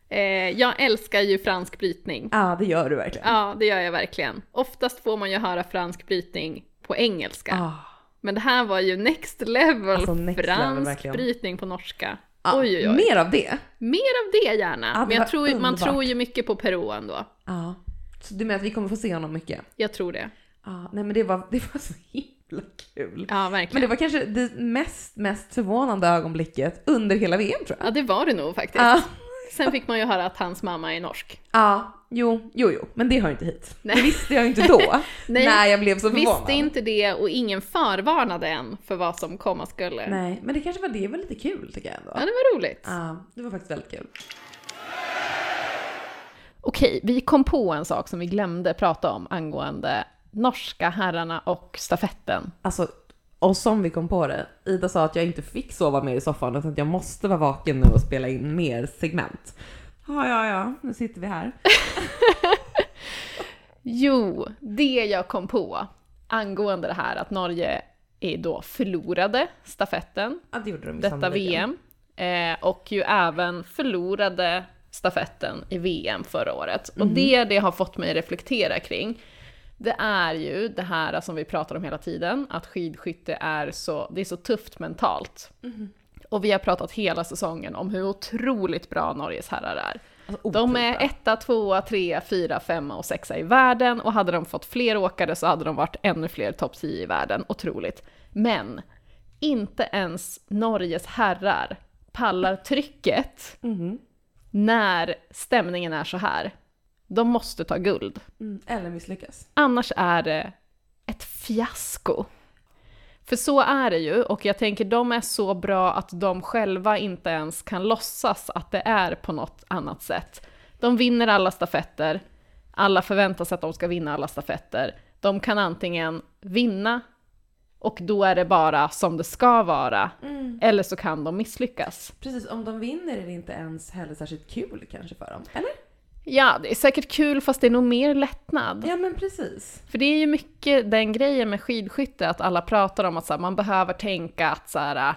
Speaker 1: Eh, jag älskar ju fransk brytning.
Speaker 2: Ja, det gör du verkligen.
Speaker 1: Ja, det gör jag verkligen. Oftast får man ju höra fransk brytning på engelska.
Speaker 2: Ah,
Speaker 1: Men det här var ju next level
Speaker 2: Alltså, next level,
Speaker 1: fransk
Speaker 2: verkligen.
Speaker 1: brytning på norska.
Speaker 2: ja.
Speaker 1: Oj, oj, oj.
Speaker 2: ah, Mer av det.
Speaker 1: Mer av det gärna.
Speaker 2: Ja, det
Speaker 1: Men
Speaker 2: var
Speaker 1: jag tror, ju- man
Speaker 2: underbart.
Speaker 1: tror ju mycket på Peru ändå.
Speaker 2: Ja. Så du menar att vi kommer få se honom mycket?
Speaker 1: Jag tror det.
Speaker 2: Ja, nej men det var, det var så himla kul.
Speaker 1: Ja,
Speaker 2: Men
Speaker 1: verkligen.
Speaker 2: det var kanske det mest, mest förvånande ögonblicket under hela VM tror jag.
Speaker 1: Ja, det var det nog faktiskt.
Speaker 2: Ja,
Speaker 1: Sen fick man ju höra att hans mamma är norsk.
Speaker 2: ja, jo, jo, jo, men det hör inte hit.
Speaker 1: Nej.
Speaker 2: Det visste jag ju inte då.
Speaker 1: Nej,
Speaker 2: när jag blev så förvånad.
Speaker 1: Visste inte det och ingen förvarnade en för vad som komma skulle.
Speaker 2: Nej, men det kanske var det, det var lite kul tycker jag ändå.
Speaker 1: Ja, det var roligt.
Speaker 2: Ja, det var faktiskt väldigt kul.
Speaker 1: Okej, vi kom på en sak som vi glömde prata om angående norska herrarna och stafetten.
Speaker 2: Alltså, och som vi kom på det, Ida sa att jag inte fick sova mer i soffan utan att jag måste vara vaken nu och spela in mer segment. Ja, ja, ja, nu sitter vi här.
Speaker 1: Jo, det jag kom på angående det här att Norge är då förlorade stafetten
Speaker 2: Ja, det gjorde de i
Speaker 1: detta
Speaker 2: sannoliken.
Speaker 1: VM. Eh, och ju även förlorade stafetten i VM förra året. Och det det har fått mig reflektera kring, det är ju det här som vi pratar om hela tiden, att skidskytte är så, det är så tufft mentalt. Och vi har pratat hela säsongen om hur otroligt bra Norges herrar är.
Speaker 2: Alltså,
Speaker 1: De
Speaker 2: otroligt
Speaker 1: är
Speaker 2: bra.
Speaker 1: etta, tvåa, trea, fyra, femma och sexa i världen och hade de fått fler åkare så hade de varit ännu fler topp 10 i världen. Otroligt. Men inte ens Norges herrar pallar trycket
Speaker 2: Mhm.
Speaker 1: när stämningen är så här. De måste ta guld.
Speaker 2: Mm, eller misslyckas.
Speaker 1: Annars är det ett fiasko. För så är det ju, och jag tänker de är så bra att de själva inte ens kan låtsas att det är på något annat sätt. De vinner alla stafetter, alla förväntas att de ska vinna alla stafetter. De kan antingen vinna, och då är det bara som det ska vara, eller så kan de misslyckas.
Speaker 2: Precis, om de vinner är det inte ens heller särskilt kul kanske för dem. Eller?
Speaker 1: Ja, det är säkert kul fast det är nog mer lättnad.
Speaker 2: Ja men precis.
Speaker 1: För det är ju mycket den grejen med skidskytte, att alla pratar om att så här, man behöver tänka att så här,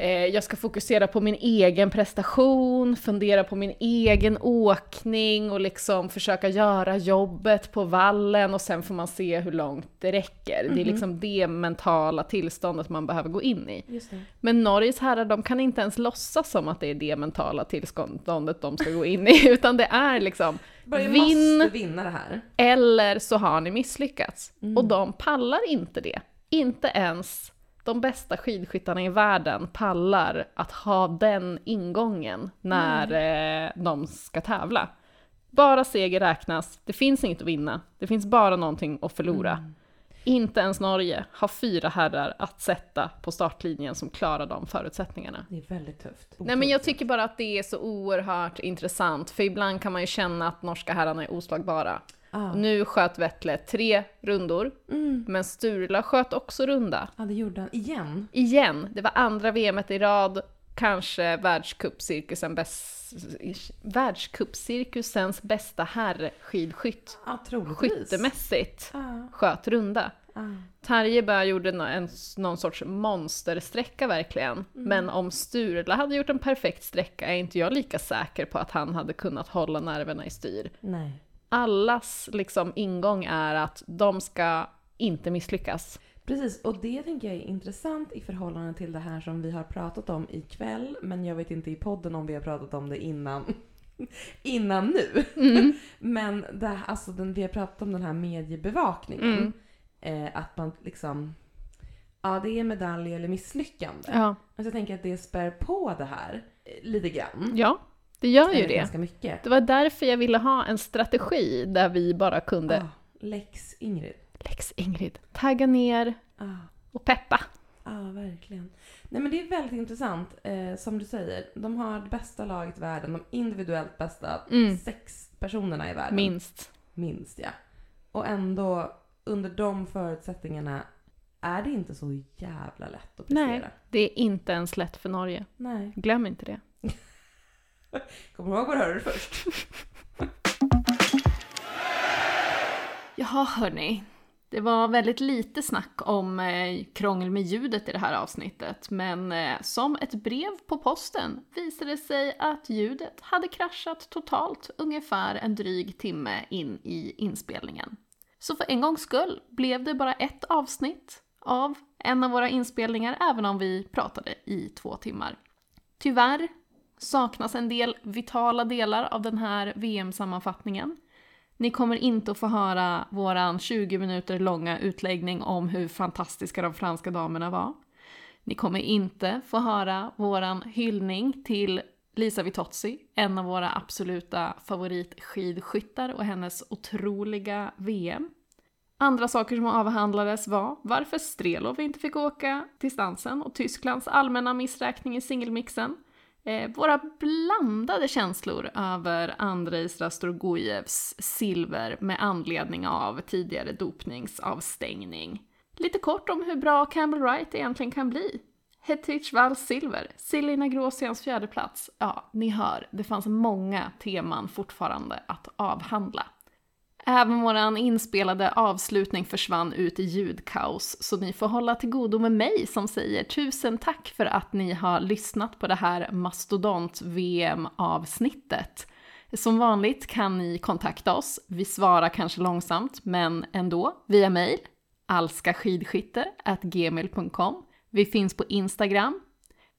Speaker 1: Eh, jag ska fokusera på min egen prestation, fundera på min egen åkning och liksom försöka göra jobbet på vallen och sen får man se hur långt det räcker. Det är liksom det mentala tillståndet man behöver gå in i.
Speaker 2: Just det.
Speaker 1: Men Norges herrar, de kan inte ens låtsas som att det är det mentala tillståndet de ska gå in i, utan det är liksom
Speaker 2: Bara,
Speaker 1: Vinn.
Speaker 2: Vinn. måste vinna det här.
Speaker 1: eller så har ni misslyckats. Och de pallar inte det. Inte ens de bästa skidskyttarna i världen pallar att ha den ingången när eh, de ska tävla. Bara seger räknas, det finns inget att vinna, det finns bara någonting att förlora. Inte ens Norge har fyra herrar att sätta på startlinjen som klarar de förutsättningarna.
Speaker 2: Det är väldigt tufft.
Speaker 1: Nej men jag tycker bara att det är så oerhört intressant, för ibland kan man ju känna att norska herrarna är oslagbara.
Speaker 2: Ja,
Speaker 1: Nu sköt Vettle tre rundor, men Sturla sköt också runda.
Speaker 2: ja det gjorde han. Igen.
Speaker 1: Igen, det var andra VMet i rad, kanske världscupcirkusen bäst, världscupcirkusens bästa herrskidskytt.
Speaker 2: Ja, troligtvis. Ah,
Speaker 1: Skyttemässigt
Speaker 2: Ja,
Speaker 1: sköt runda.
Speaker 2: ja.
Speaker 1: Tarjebö gjorde nå- en, någon sorts monstersträcka verkligen. Men om Sturla hade gjort en perfekt sträcka är inte jag lika säker på att han hade kunnat hålla nerverna i styr.
Speaker 2: Nej.
Speaker 1: Allas liksom ingång är att de ska inte misslyckas.
Speaker 2: Precis, och det tänker jag är intressant i förhållande till det här som vi har pratat om ikväll. Men jag vet inte i podden om vi har pratat om det innan, innan nu.
Speaker 1: Mm.
Speaker 2: Men det, alltså den, vi har pratat om den här mediebevakningen.
Speaker 1: Mm.
Speaker 2: Eh, att man liksom... Ja, det är medalj eller misslyckande.
Speaker 1: Ja,
Speaker 2: Alltså jag tänker att det spär på det här eh, lite grann.
Speaker 1: ja det gör ju
Speaker 2: Eller
Speaker 1: det.
Speaker 2: Ganska mycket.
Speaker 1: Det var därför jag ville ha en strategi där vi bara kunde,
Speaker 2: Ah, Lex Ingrid.
Speaker 1: lex Ingrid, tagga ner
Speaker 2: Ah.
Speaker 1: och peppa.
Speaker 2: Ja, verkligen. Nej men det är väldigt intressant. Eh, som du säger, de har det bästa laget i världen, de individuellt bästa
Speaker 1: Mm.
Speaker 2: sex personerna i världen.
Speaker 1: Minst.
Speaker 2: Minst ja. Och ändå, under de förutsättningarna är det inte så jävla lätt att prestera.
Speaker 1: Nej. Det är inte ens lätt för Norge.
Speaker 2: Nej.
Speaker 1: Glöm inte det.
Speaker 2: Kommer ihåg vad du hörde först.
Speaker 1: Jaha hörni. Det var väldigt lite snack om eh, krångel med ljudet i det här avsnittet, men eh, som ett brev på posten visade det sig att ljudet hade kraschat totalt ungefär en dryg timme in i inspelningen. Så för en gångs skull blev det bara ett avsnitt av en av våra inspelningar, även om vi pratade i två timmar. Tyvärr saknas en del vitala delar av den här VM-sammanfattningen. Ni kommer inte att få höra våran 20 minuter långa utläggning om hur fantastiska de franska damerna var. Ni kommer inte få höra våran hyllning till Lisa Vitozzi, en av våra absoluta favoritskidskyttar och hennes otroliga VM. Andra saker som avhandlades var varför Strelov inte fick åka distansen och Tysklands allmänna missräkning i singelmixen. Eh, våra blandade känslor över Andrejs Rastrogojevs silver med anledning av tidigare dopningsavstängning. Lite kort om hur bra Campbell Wright egentligen kan bli. Hettich Walls silver, Selina Gråsens fjärde plats. Ja, ni hör, det fanns många teman fortfarande att avhandla. Även våran inspelade avslutning försvann ut i ljudkaos, så ni får hålla till godo med mig som säger tusen tack för att ni har lyssnat på det här mastodont-VM-avsnittet. Som vanligt kan ni kontakta oss, vi svarar kanske långsamt, men ändå, via mejl, alskaskidskytte.gmail.com. Vi finns på Instagram,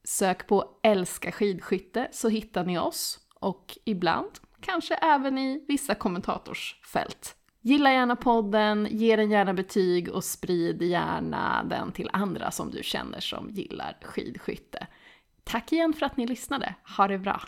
Speaker 1: Sök på älska skidskytte så hittar ni oss och ibland kanske även i vissa kommentatorsfält. Gilla gärna podden, ge den gärna betyg och sprid gärna den till andra som du känner som gillar skidskytte. Tack igen för att ni lyssnade. Ha det bra!